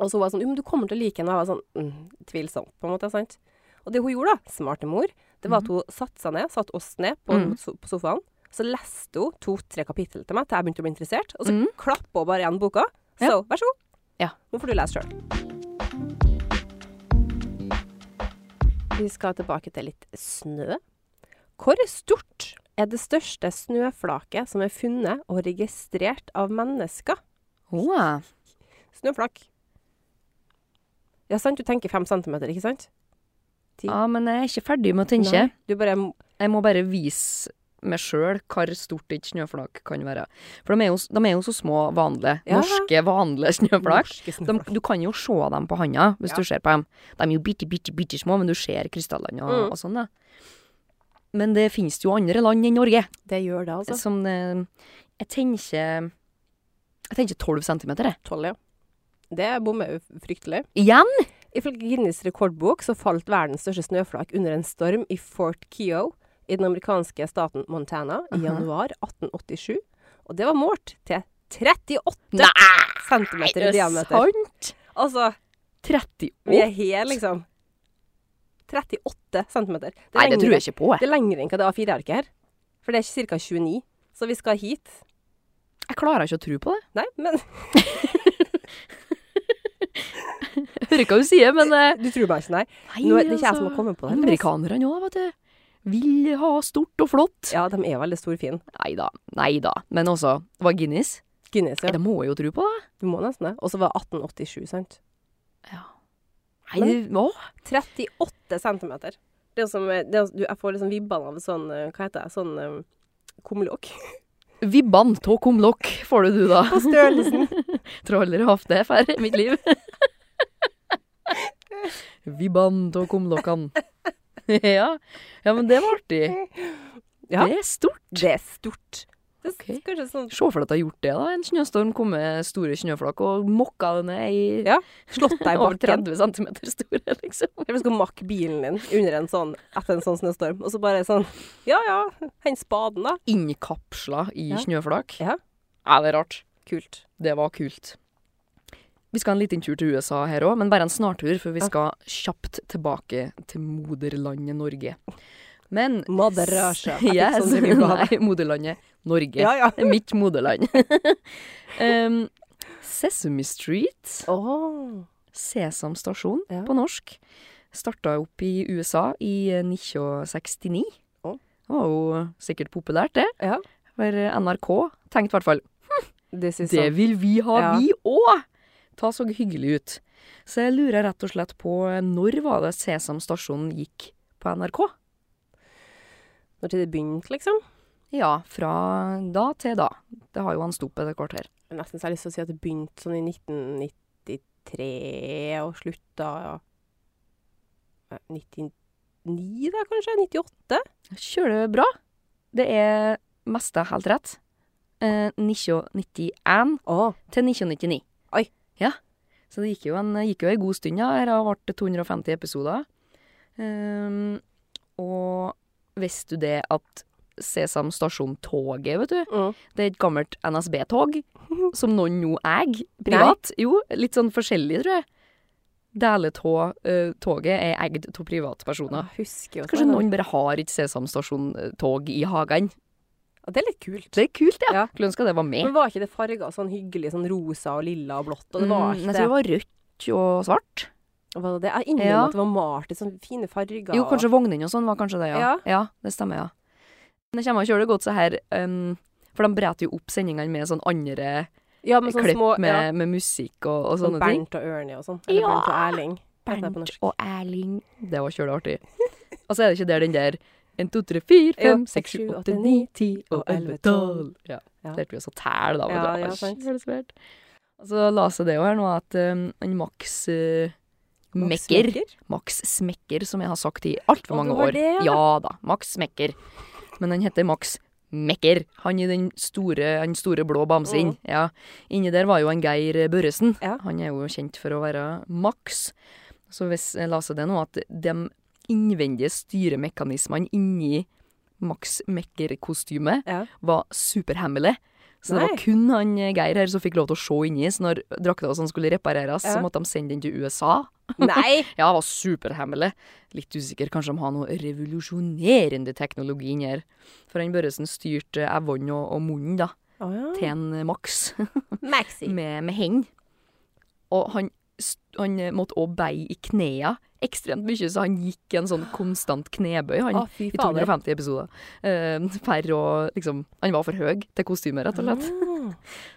Speaker 2: Og så var hun sånn jo, men du kommer til å like den. Og jeg var sånn mm, tvilsomt, på en måte. sant? Og det hun gjorde, da, smarte mor, det var at hun satte seg ned, satte oss ned på,
Speaker 1: Mm.
Speaker 2: so- på sofaen. Så leste hun to-tre kapittel til meg til jeg begynte å bli interessert. Og så
Speaker 1: Mm.
Speaker 2: klappa hun bare igjen boka. Så
Speaker 1: Ja.
Speaker 2: vær så god.
Speaker 1: Ja.
Speaker 2: Nå får du lese sjøl. Vi skal tilbake til litt snø. Hvor stort er det største snøflaket som er funnet og registrert av mennesker?
Speaker 1: Wow.
Speaker 2: Snøflak. Ja, sant? Du tenker fem centimeter, ikke sant?
Speaker 1: Ja, men jeg er ikke ferdig med å tenke.
Speaker 2: Nei. Du bare
Speaker 1: Jeg må bare vise meg sjøl hvor stort et snøflak kan være. For de er jo, s- de er jo så små, vanlige.
Speaker 2: Ja.
Speaker 1: Norske, vanlige [LAUGHS] snøflak.
Speaker 2: Norske
Speaker 1: De,
Speaker 2: snøflak.
Speaker 1: du kan jo se dem på handa hvis
Speaker 2: Ja.
Speaker 1: du ser på dem. De er jo bitte, bitte, bitte små, men du ser krystallene og,
Speaker 2: Mm.
Speaker 1: og sånn, da. Men det finnes jo andre land enn Norge
Speaker 2: Det gjør det, altså.
Speaker 1: som eh, Jeg tenker Jeg tenker 12 centimeter, jeg.
Speaker 2: Tolv, ja. Det bommer jo fryktelig.
Speaker 1: Igjen?
Speaker 2: Ifølge Guinness rekordbok så falt verdens største snøflak under en storm i Fort Keogh i den amerikanske staten Montana i
Speaker 1: Mhm.
Speaker 2: januar 1887. Og det var målt til 38
Speaker 1: Nei,
Speaker 2: centimeter i
Speaker 1: er det
Speaker 2: diameter.
Speaker 1: sant?
Speaker 2: Altså,
Speaker 1: 38?
Speaker 2: vi er helt liksom 38 centimeter. Det
Speaker 1: Nei, det tror jeg ikke på, jeg.
Speaker 2: Det er lenger enn hva det A4-arket her. For det er ca. 29. Så vi skal hit.
Speaker 1: Jeg klarer ikke å tro på det.
Speaker 2: Nei, men [LAUGHS]
Speaker 1: Jeg [LAUGHS] hører hva du sier, men eh,
Speaker 2: Du tror meg ikke, nei.
Speaker 1: [LAUGHS] Nei,
Speaker 2: Nå er det ikke jeg som har
Speaker 1: altså.
Speaker 2: kommet på det.
Speaker 1: Amerikanerne òg, vet du. Vil ha stort og flott.
Speaker 2: Ja, de er veldig storfine.
Speaker 1: Nei da, nei da. Men også, det var Guinness.
Speaker 2: Guinness, ja.
Speaker 1: Det må jeg jo tro på, da.
Speaker 2: Du må nesten det. Og så var det 1887, sant.
Speaker 1: Nei, det- åh.
Speaker 2: 38 centimeter. Det er jo som det er, jo- du, Jeg får liksom vibbene av sånn eh, Hva heter det? Sånn um, kumlokk. [LAUGHS]
Speaker 1: Vibban tå kumlokk får du, du, da. [LAUGHS]
Speaker 2: På størrelsen.
Speaker 1: Tror aldri jeg har hatt det før i mitt [LAUGHS] liv. Vibban tå kumlokkan. Ja. ja, men det var artig.
Speaker 2: Ja.
Speaker 1: Det er stort.
Speaker 2: Det er stort. Det er s-
Speaker 1: Ok.
Speaker 2: kanskje sånn
Speaker 1: Se for deg at jeg har gjort det, da. En snøstorm kom med store snøflak og mokka det ned i
Speaker 2: Ja, slått deg i
Speaker 1: over
Speaker 2: bakken.
Speaker 1: 30 cm
Speaker 2: [LAUGHS]
Speaker 1: store, liksom.
Speaker 2: Eller skal makke bilen din under en sånn, etter en sånn snøstorm. Og så bare sånn Ja ja, hent spaden, da.
Speaker 1: innkapsla i
Speaker 2: Ja.
Speaker 1: snøflak.
Speaker 2: Ja.
Speaker 1: Ja, det er rart.
Speaker 2: Kult.
Speaker 1: Det var kult. Vi skal ha en liten tur til USA her òg, men bare en snartur, for vi
Speaker 2: Ja.
Speaker 1: skal kjapt tilbake til moderlandet Norge. Men
Speaker 2: Mother Russia. Jeg
Speaker 1: [LAUGHS]
Speaker 2: fikk
Speaker 1: Yes.
Speaker 2: sånn review av
Speaker 1: Nei, moderlandet Norge.
Speaker 2: Ja, ja.
Speaker 1: Det er mitt moderland. [LAUGHS] um, Sesame Street,
Speaker 2: Åh.
Speaker 1: Sesam stasjon
Speaker 2: Ja.
Speaker 1: på norsk, starta opp i USA i eh, 1969.
Speaker 2: Å.
Speaker 1: Det var jo sikkert populært, det.
Speaker 2: Ja.
Speaker 1: For NRK tenkte i hvert fall
Speaker 2: This is
Speaker 1: Det
Speaker 2: some-
Speaker 1: vil vi ha,
Speaker 2: Ja.
Speaker 1: vi òg! ta så hyggelig ut. Så jeg lurer rett og slett på eh, når var det Sesam stasjon gikk på NRK?
Speaker 2: Når tid det begynte, liksom.
Speaker 1: Ja, fra da til da. Det har jo han stoppet et kvarter.
Speaker 2: Jeg har Nesten så har jeg lyst til å si at det begynte sånn i 1993 og slutta eh, 99, da kanskje? 98?
Speaker 1: Kjører det bra. Det er meste helt rett. Eh, 1991
Speaker 2: Å,
Speaker 1: til 1999.
Speaker 2: Oi.
Speaker 1: Ja. Så det gikk jo en, gikk jo en god stund, ja. Her har vært 250 episoder. Ehm, og visste du det at Sesam Stasjon-toget, vet du,
Speaker 2: Mm.
Speaker 1: det er et gammelt
Speaker 2: [LAUGHS]
Speaker 1: NSB-tog som noen nå eier privat? Jo, litt sånn forskjellig, tror jeg. Deler av eh, toget er eid av privatpersoner.
Speaker 2: Jeg husker jo
Speaker 1: Kanskje noen bare har ikke Sesam Stasjon-tog i hagen.
Speaker 2: Ja, det er litt kult.
Speaker 1: Det er kult, ja.
Speaker 2: Ja.
Speaker 1: Skulle ønske det var med.
Speaker 2: Men var ikke det farga sånn hyggelig, sånn rosa og lilla og blått? Og det
Speaker 1: Mm,
Speaker 2: var ikke
Speaker 1: jeg
Speaker 2: det.
Speaker 1: tror det var rødt og svart.
Speaker 2: Var det det? Jeg innrømmer
Speaker 1: Ja.
Speaker 2: at det var malt i sånne fine farger.
Speaker 1: Jo,
Speaker 2: og-
Speaker 1: kanskje vognene og sånn var kanskje det, ja. Ja,
Speaker 2: Ja.
Speaker 1: det stemmer, ja. Men det kommer å kjøre det godt så her, um, for de bretter jo opp sendingene med sånn andre
Speaker 2: ja, med sånne
Speaker 1: klipp
Speaker 2: små,
Speaker 1: med,
Speaker 2: ja,
Speaker 1: med musikk og, og
Speaker 2: sånn
Speaker 1: sånne ting.
Speaker 2: Bernt og Ernie og sånn. Eller
Speaker 1: Ja.
Speaker 2: Bernt og Erling. heter det på
Speaker 1: Bernt
Speaker 2: norsk.
Speaker 1: og Erling. Det var kjølig artig. Og så er det ikke der den der 1, 2, 3, 4, 5, 6, 7, 8, 9, 10 og 11, 12. Ja.
Speaker 2: Ja.
Speaker 1: Lærte vi oss å telle, da.
Speaker 2: Ja, ja,
Speaker 1: Ja,
Speaker 2: sant.
Speaker 1: Og så la seg det jo her nå at um, en Max eh,
Speaker 2: Max
Speaker 1: Mekker Max Smekker, som jeg har sagt i altfor
Speaker 2: Og
Speaker 1: mange
Speaker 2: du har
Speaker 1: år.
Speaker 2: det, ja.
Speaker 1: ja da, Max Smekker. Men han heter Max Mekker. Han i den store, han store blå bamsen.
Speaker 2: Mhm.
Speaker 1: Ja. Inni der var jo en Geir Børresen.
Speaker 2: Ja.
Speaker 1: Han er jo kjent for å være Max. Så hvis jeg leser det nå, at de innvendige styremekanismene inni Max Mekker-kostymet
Speaker 2: Ja.
Speaker 1: var superhemmelige. Så det
Speaker 2: Nei.
Speaker 1: var kun han eh, Geir her som fikk lov til å se inni. Så når drakta og sånn skulle repareres, så
Speaker 2: Ja.
Speaker 1: måtte de sende den til USA.
Speaker 2: [LAUGHS]
Speaker 1: [LAUGHS]
Speaker 2: Nei!
Speaker 1: Ja, det var superhemmelig. Litt usikker, kanskje de har noe revolusjonerende teknologi inni her. For han Børresen styrte evnen og, og munnen da,
Speaker 2: Å ja.
Speaker 1: til en eh, Max [LAUGHS]
Speaker 2: Maxi.
Speaker 1: med, med heng. Og han, st- han eh, måtte også beie i knea ekstremt mye, så han gikk i en sånn konstant knebøy, han.
Speaker 2: Å, fy
Speaker 1: I
Speaker 2: fader.
Speaker 1: 250 episoder. Eh, per og liksom Han var for høy til kostymet, rett og slett.
Speaker 2: Mm.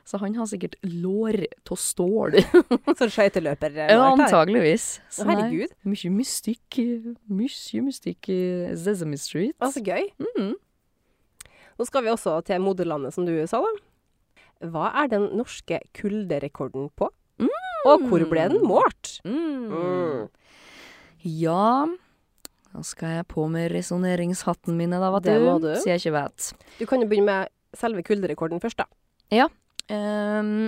Speaker 1: Så han har sikkert lår av stål.
Speaker 2: Sånn skøyteløper.
Speaker 1: Ja, antageligvis. Så nei.
Speaker 2: Herregud.
Speaker 1: Mye mystikk. eh, Mye mystikk i e, Sesame Street.
Speaker 2: Å, så gøy.
Speaker 1: Mhm.
Speaker 2: Nå skal vi også til moderlandet, som du sa, da. Hva er den norske kulderekorden på? Og hvor ble den målt?
Speaker 1: Mm. Ja Da skal jeg på med resonneringshatten mine, da, vet
Speaker 2: Det må
Speaker 1: du.
Speaker 2: du.
Speaker 1: Så jeg ikke vet.
Speaker 2: Du kan jo begynne med selve kulderekorden først, da.
Speaker 1: Ehm,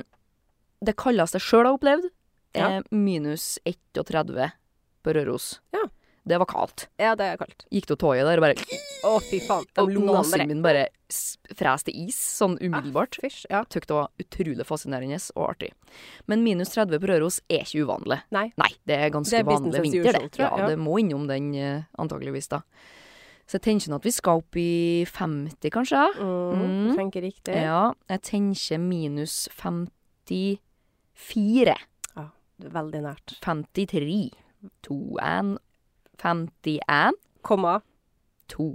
Speaker 1: det kaldeste jeg sjøl har opplevd,
Speaker 2: Ja.
Speaker 1: er minus 31 på Røros.
Speaker 2: Ja.
Speaker 1: Det var kaldt.
Speaker 2: Ja, det er kaldt.
Speaker 1: Gikk til toget der og bare
Speaker 2: Å, fy faen. De
Speaker 1: og
Speaker 2: lungene
Speaker 1: Nesen min bare s- frøs til is, sånn umiddelbart.
Speaker 2: Fysj, ja.
Speaker 1: tykte det var utrolig fascinerende og artig. Men minus 30 på Røros er ikke uvanlig.
Speaker 2: Nei.
Speaker 1: det er ganske
Speaker 2: Det er business
Speaker 1: vanlig
Speaker 2: as
Speaker 1: vinter, det.
Speaker 2: usual, tror jeg,
Speaker 1: Ja,
Speaker 2: ja.
Speaker 1: det må innom den eh, antageligvis, da. Så jeg tenker nå at vi skal opp i 50, kanskje.
Speaker 2: Mm,
Speaker 1: Mm.
Speaker 2: du tenker riktig.
Speaker 1: Ja, jeg tenker minus 54.
Speaker 2: Veldig nært.
Speaker 1: 53. 2, 1, 51,
Speaker 2: Komma
Speaker 1: 2.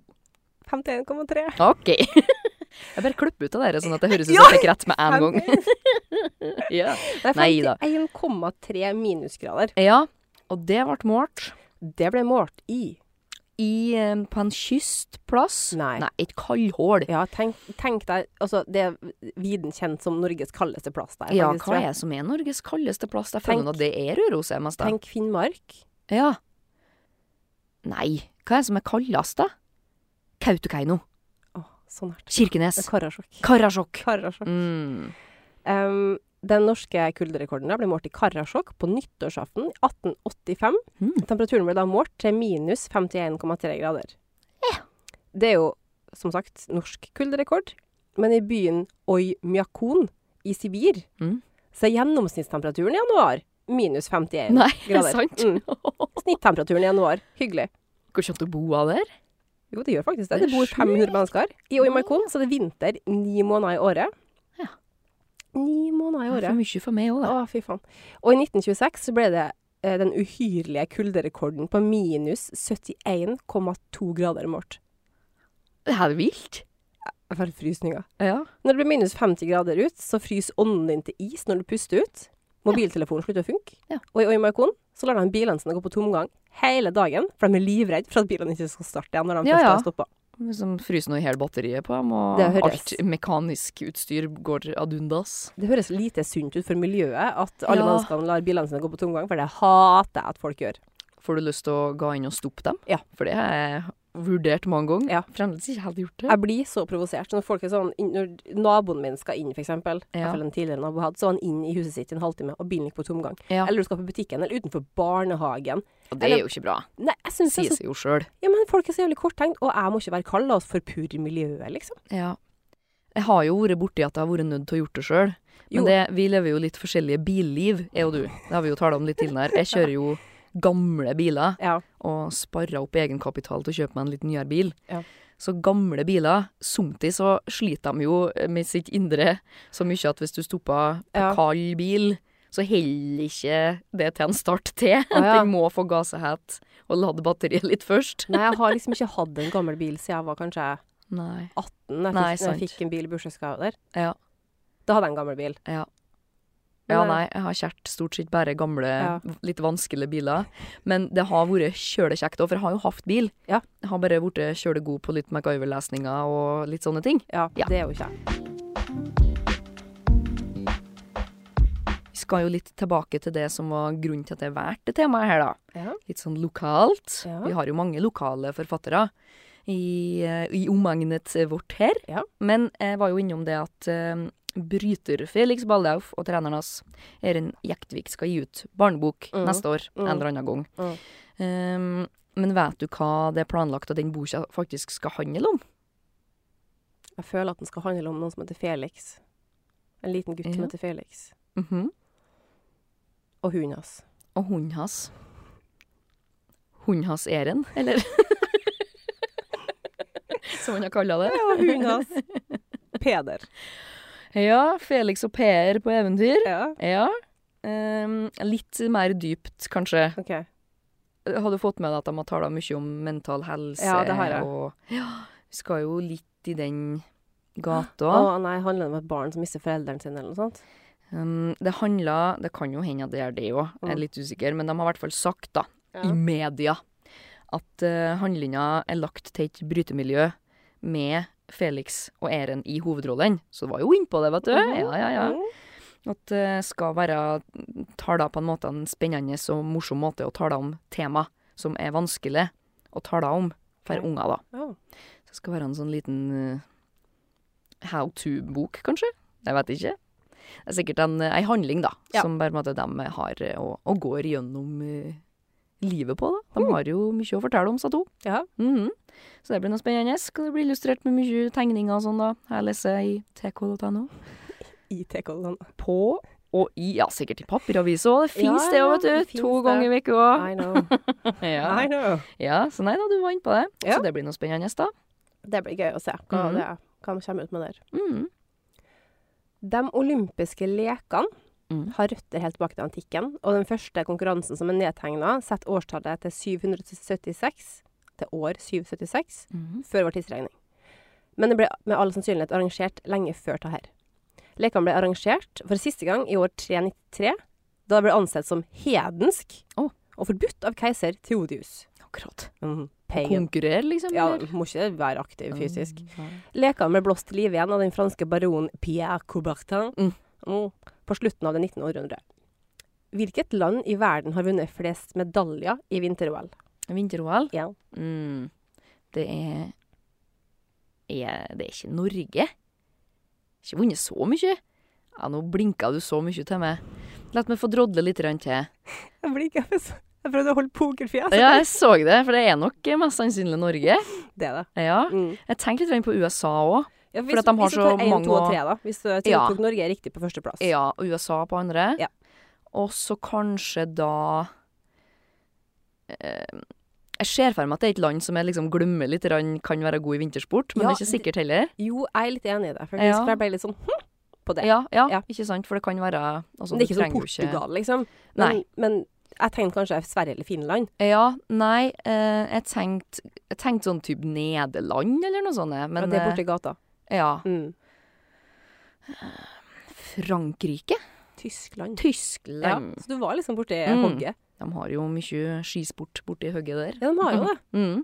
Speaker 2: 51,3.
Speaker 1: OK. [LAUGHS] Jeg bare klipper ut av dere, sånn at det høres
Speaker 2: [LAUGHS]
Speaker 1: ut som jeg fikk rett med en gang. [LAUGHS] Ja.
Speaker 2: Det
Speaker 1: Nei da.
Speaker 2: er 51,3 minusgrader.
Speaker 1: ja, og det ble målt.
Speaker 2: Det ble målt i
Speaker 1: i, eh, på en kystplass
Speaker 2: Nei.
Speaker 1: et kaldhål.
Speaker 2: Ja, tenk, tenk deg Altså, det er viden kjent som Norges kaldeste plass der.
Speaker 1: Ja,
Speaker 2: faktisk, tror
Speaker 1: hva
Speaker 2: jeg.
Speaker 1: er det som er Norges kaldeste plass? Jeg føler
Speaker 2: Tenk-
Speaker 1: at det er Røros, jeg mest da.
Speaker 2: Tenk Finnmark.
Speaker 1: Ja. Nei, hva er det som er kaldest, da? Kautokeino,
Speaker 2: Å, så nært. Det
Speaker 1: Kirkenes,
Speaker 2: er Karasjok.
Speaker 1: Karasjok.
Speaker 2: Karasjok.
Speaker 1: Mm.
Speaker 2: Um, den norske kulderekorden da ble målt i Karasjok på nyttårsaften 1885.
Speaker 1: Mm.
Speaker 2: Temperaturen ble da målt til minus 51,3 grader. Det er jo, som sagt, norsk kulderekord. Men i byen Oi Mjakon i Sibir
Speaker 1: Mm.
Speaker 2: så er gjennomsnittstemperaturen i januar minus 51
Speaker 1: Nei, [LAUGHS] er det
Speaker 2: grader.
Speaker 1: sant?
Speaker 2: Mm. Snittemperaturen i januar. Hyggelig.
Speaker 1: Går ikke an å bo av der?
Speaker 2: Jo, det gjør faktisk det.
Speaker 1: Det er
Speaker 2: Det bor
Speaker 1: sjukt.
Speaker 2: 500 mennesker i Oi Mjakon, så det er vinter ni måneder i året.
Speaker 1: Ja.
Speaker 2: Ni måneder i
Speaker 1: Det er
Speaker 2: året.
Speaker 1: for mye for meg òg, da.
Speaker 2: Å, fy faen. Og i 1926 så ble det eh, den uhyrlige kulderekorden på minus 71,2 grader målt.
Speaker 1: Det her er vilt.
Speaker 2: Jeg får frysninger.
Speaker 1: Ja.
Speaker 2: Når det blir minus 50 grader ut, så fryser ånden din til is når du puster ut. Mobiltelefonen slutter å funke.
Speaker 1: Ja.
Speaker 2: Og i Oimarkon så lar de bilene sine gå på tomgang hele dagen, for de er livredde for at bilene ikke skal starte igjen når de
Speaker 1: Ja,
Speaker 2: først
Speaker 1: ja.
Speaker 2: har stoppa.
Speaker 1: Liksom fryser nå i hjel batteriet på dem, og
Speaker 2: Det høres-
Speaker 1: alt mekanisk utstyr går ad undas.
Speaker 2: Det høres lite sunt ut for miljøet at alle
Speaker 1: Ja.
Speaker 2: menneskene lar bilene sine gå på tomgang, for det hater jeg at folk gjør.
Speaker 1: Får du lyst til å gå inn og stoppe dem?
Speaker 2: Ja.
Speaker 1: For det har jeg vurdert mange ganger.
Speaker 2: Ja.
Speaker 1: Fremdeles ikke helt gjort det.
Speaker 2: Jeg blir så provosert når folk er sånn inn- Når naboen min skal inn, for eksempel, i
Speaker 1: Ja.
Speaker 2: hvert fall en tidligere nabo hadde, så var han inn i huset sitt i en halvtime, og bilen gikk på tomgang.
Speaker 1: Ja.
Speaker 2: Eller du skal på butikken, eller utenfor barnehagen.
Speaker 1: Og det er jo ikke bra.
Speaker 2: Nei, jeg synes det
Speaker 1: Sier
Speaker 2: er så
Speaker 1: seg jo sjøl.
Speaker 2: Ja, men folk er så jævlig korttenkt, og jeg må ikke være kald, la oss forpurre miljøet, liksom.
Speaker 1: Ja. Jeg har jo vært borti at jeg har vært nødt til å gjort det sjøl. Men
Speaker 2: Jo.
Speaker 1: det, vi lever jo litt forskjellige billiv, jeg og du. Det har vi jo tala om litt tidligere. Jeg kjører jo gamle biler
Speaker 2: Ja.
Speaker 1: og sparer opp egenkapital til å kjøpe meg en litt nyere bil.
Speaker 2: Ja.
Speaker 1: Så gamle biler, samtidig så sliter de jo med sitt indre så mye at hvis du stopper på
Speaker 2: Ja.
Speaker 1: kald bil, så holder ikke det til en start til. [LAUGHS]
Speaker 2: ja.
Speaker 1: Den må få gasehet og lade batteriet litt først.
Speaker 2: Nei, jeg har liksom ikke hatt en gammel bil siden jeg var kanskje 18,
Speaker 1: Nei.
Speaker 2: da jeg,
Speaker 1: Nei,
Speaker 2: fikk, når jeg
Speaker 1: sant.
Speaker 2: fikk en bil i bursdagsgave der.
Speaker 1: Ja.
Speaker 2: Da hadde jeg en gammel bil.
Speaker 1: Ja.
Speaker 2: Men
Speaker 1: Ja,
Speaker 2: jeg-
Speaker 1: nei, jeg har kjært stort sett bare gamle,
Speaker 2: Ja.
Speaker 1: v- litt vanskelige biler. Men det har vært kjølekjekt òg, for jeg har jo hatt bil.
Speaker 2: Ja.
Speaker 1: Jeg har bare blitt kjølegod på litt MacGyver-lesninger og litt sånne ting.
Speaker 2: Ja,
Speaker 1: Ja.
Speaker 2: det er jo ikke jeg.
Speaker 1: Vi skal jo litt tilbake til det som var grunnen til at jeg valgte temaet her, da.
Speaker 2: Ja.
Speaker 1: Litt sånn lokalt.
Speaker 2: Ja.
Speaker 1: Vi har jo mange lokale forfattere i, eh, i omegnet vårt her.
Speaker 2: Ja.
Speaker 1: Men jeg var jo innom det at eh, bryter Felix Baldauf og treneren hans, Erin Jektvik, skal gi ut barnebok
Speaker 2: Mm.
Speaker 1: neste år en
Speaker 2: Mm.
Speaker 1: eller annen gang.
Speaker 2: Mm.
Speaker 1: Um, men vet du hva det er planlagt at den boka faktisk skal handle om?
Speaker 2: Jeg føler at den skal handle om noen som heter Felix. En liten gutt som
Speaker 1: Ja.
Speaker 2: heter Felix.
Speaker 1: Mhm.
Speaker 2: Og hunden hans.
Speaker 1: Og hunden hans. Hunden hans Eren,
Speaker 2: [LAUGHS]
Speaker 1: eller? Som han har kalla det.
Speaker 2: Ja, hunden [LAUGHS] hans. Peder.
Speaker 1: Ja, Felix og Per på eventyr.
Speaker 2: Ja.
Speaker 1: Ja. Ehm, litt mer dypt, kanskje.
Speaker 2: OK.
Speaker 1: Har du fått med deg at de har tala mye om mental helse?
Speaker 2: Ja, det har jeg.
Speaker 1: Og, ja, vi skal jo litt i den gata.
Speaker 2: Å nei, handler det om et barn som mister foreldrene sine, eller noe sånt?
Speaker 1: Um, det handla Det kan jo hende at det er det òg, jeg er litt usikker. Men de har i hvert fall sagt, da, i media, at uh, handlinga er lagt til et brytemiljø med Felix og Eren i hovedrollen. Så du var jo innpå det, vet du.
Speaker 2: Mhm.
Speaker 1: Ja, ja, ja.
Speaker 2: Mm.
Speaker 1: At det skal være taler på en måte en spennende og morsom måte å tale om tema som er vanskelig å tale om for
Speaker 2: Ok.
Speaker 1: unger, da.
Speaker 2: Ja.
Speaker 1: Så det skal være en sånn liten eh, how to-bok, kanskje? Jeg vet ikke. Det er sikkert en, eh, ei handling, da,
Speaker 2: Ja.
Speaker 1: som bare på en måte de har eh, og, og går gjennom eh, livet på. da. De har jo mye å fortelle om, sa to.
Speaker 2: Mm. Ja.
Speaker 1: Mhm. Så det blir noe spennende. Skal det bli illustrert med mye tegninger og sånn, da. Her leser jeg i tk.no.
Speaker 2: I TK-en.
Speaker 1: På og i Ja, sikkert i papiravis òg. Det fins
Speaker 2: Ja,
Speaker 1: det
Speaker 2: ja,
Speaker 1: òg,
Speaker 2: det
Speaker 1: vet du.
Speaker 2: finnes
Speaker 1: To
Speaker 2: det.
Speaker 1: ganger i uka òg.
Speaker 2: I know.
Speaker 1: [LAUGHS]
Speaker 2: I
Speaker 1: Ja.
Speaker 2: know.
Speaker 1: ja, så nei da, du vant på det.
Speaker 2: Ja.
Speaker 1: Så det blir noe spennende, da.
Speaker 2: Det blir gøy å se hva
Speaker 1: Mhm.
Speaker 2: det er. Hva de kommer ut med der.
Speaker 1: Mhm.
Speaker 2: De olympiske lekene
Speaker 1: Mm.
Speaker 2: har røtter helt tilbake til antikken, og den første konkurransen som er nedtegna, setter årstallet til 776, til år 776,
Speaker 1: Mhm.
Speaker 2: før vår tidsregning. Men det ble med all sannsynlighet arrangert lenge før det her. Lekene ble arrangert for siste gang i år 393, da det ble ansett som hedensk
Speaker 1: Å.
Speaker 2: og forbudt av keiser Theodius.
Speaker 1: Akkurat.
Speaker 2: Pagan.
Speaker 1: Konkurrere, liksom?
Speaker 2: Ja,
Speaker 1: eller? Mm.
Speaker 2: må ikke være aktiv fysisk.
Speaker 1: Ja.
Speaker 2: Lekene ble blåst til liv igjen av den franske baronen Pierre Coubertin
Speaker 1: Mm.
Speaker 2: Mm, på slutten av det 19. århundret. Hvilket land i verden har vunnet flest medaljer i vinter-OL?
Speaker 1: Vinter-OL?
Speaker 2: Ja.
Speaker 1: Mm. Det er, er Det er ikke Norge. Ikke vunnet så mye. Ja, nå blinka du så mye til meg. La meg få drodle litt grann til.
Speaker 2: Jeg blir ikke Jeg prøvde å holde pokerfjes.
Speaker 1: Ja, jeg så det, for det er nok eh, mest sannsynlig Norge.
Speaker 2: Det er det.
Speaker 1: Ja.
Speaker 2: Mm.
Speaker 1: Jeg tenkte litt grann på USA òg.
Speaker 2: Ja,
Speaker 1: at de har
Speaker 2: hvis du
Speaker 1: så
Speaker 2: tar en,
Speaker 1: mange
Speaker 2: to og
Speaker 1: å-
Speaker 2: tre, da. Hvis du jeg tror
Speaker 1: Ja.
Speaker 2: du tok Norge er riktig på førsteplass.
Speaker 1: Ja, og USA på andre.
Speaker 2: Ja.
Speaker 1: Og så kanskje da eh, Jeg ser for meg at det er et land som jeg liksom glemmer litt, grann kan være god i vintersport, men
Speaker 2: Ja,
Speaker 1: det er ikke sikkert heller.
Speaker 2: Jo, jeg er litt enig i det, faktisk,
Speaker 1: Ja.
Speaker 2: for jeg ble litt sånn hm, på det.
Speaker 1: Ja, ja,
Speaker 2: Ja.
Speaker 1: ikke sant? For det kan være altså,
Speaker 2: Men det er
Speaker 1: du
Speaker 2: ikke sånn
Speaker 1: trenger jo ikke-
Speaker 2: Portugal, liksom. Men,
Speaker 1: Nei.
Speaker 2: men jeg tenkte kanskje Sverige eller Finland.
Speaker 1: Ja, nei, eh, jeg tenkte jeg tenkte sånn type Nederland eller noe sånt. jeg, Men
Speaker 2: Men det er Mm.
Speaker 1: eh,
Speaker 2: borti gata.
Speaker 1: ja,
Speaker 2: Mm.
Speaker 1: Frankrike?
Speaker 2: Tyskland. Ja,
Speaker 1: Tyskland.
Speaker 2: så du var liksom borti
Speaker 1: Mm.
Speaker 2: hogget.
Speaker 1: De har jo mye skisport borti hugget der.
Speaker 2: Ja, de har jo det.
Speaker 1: Mm.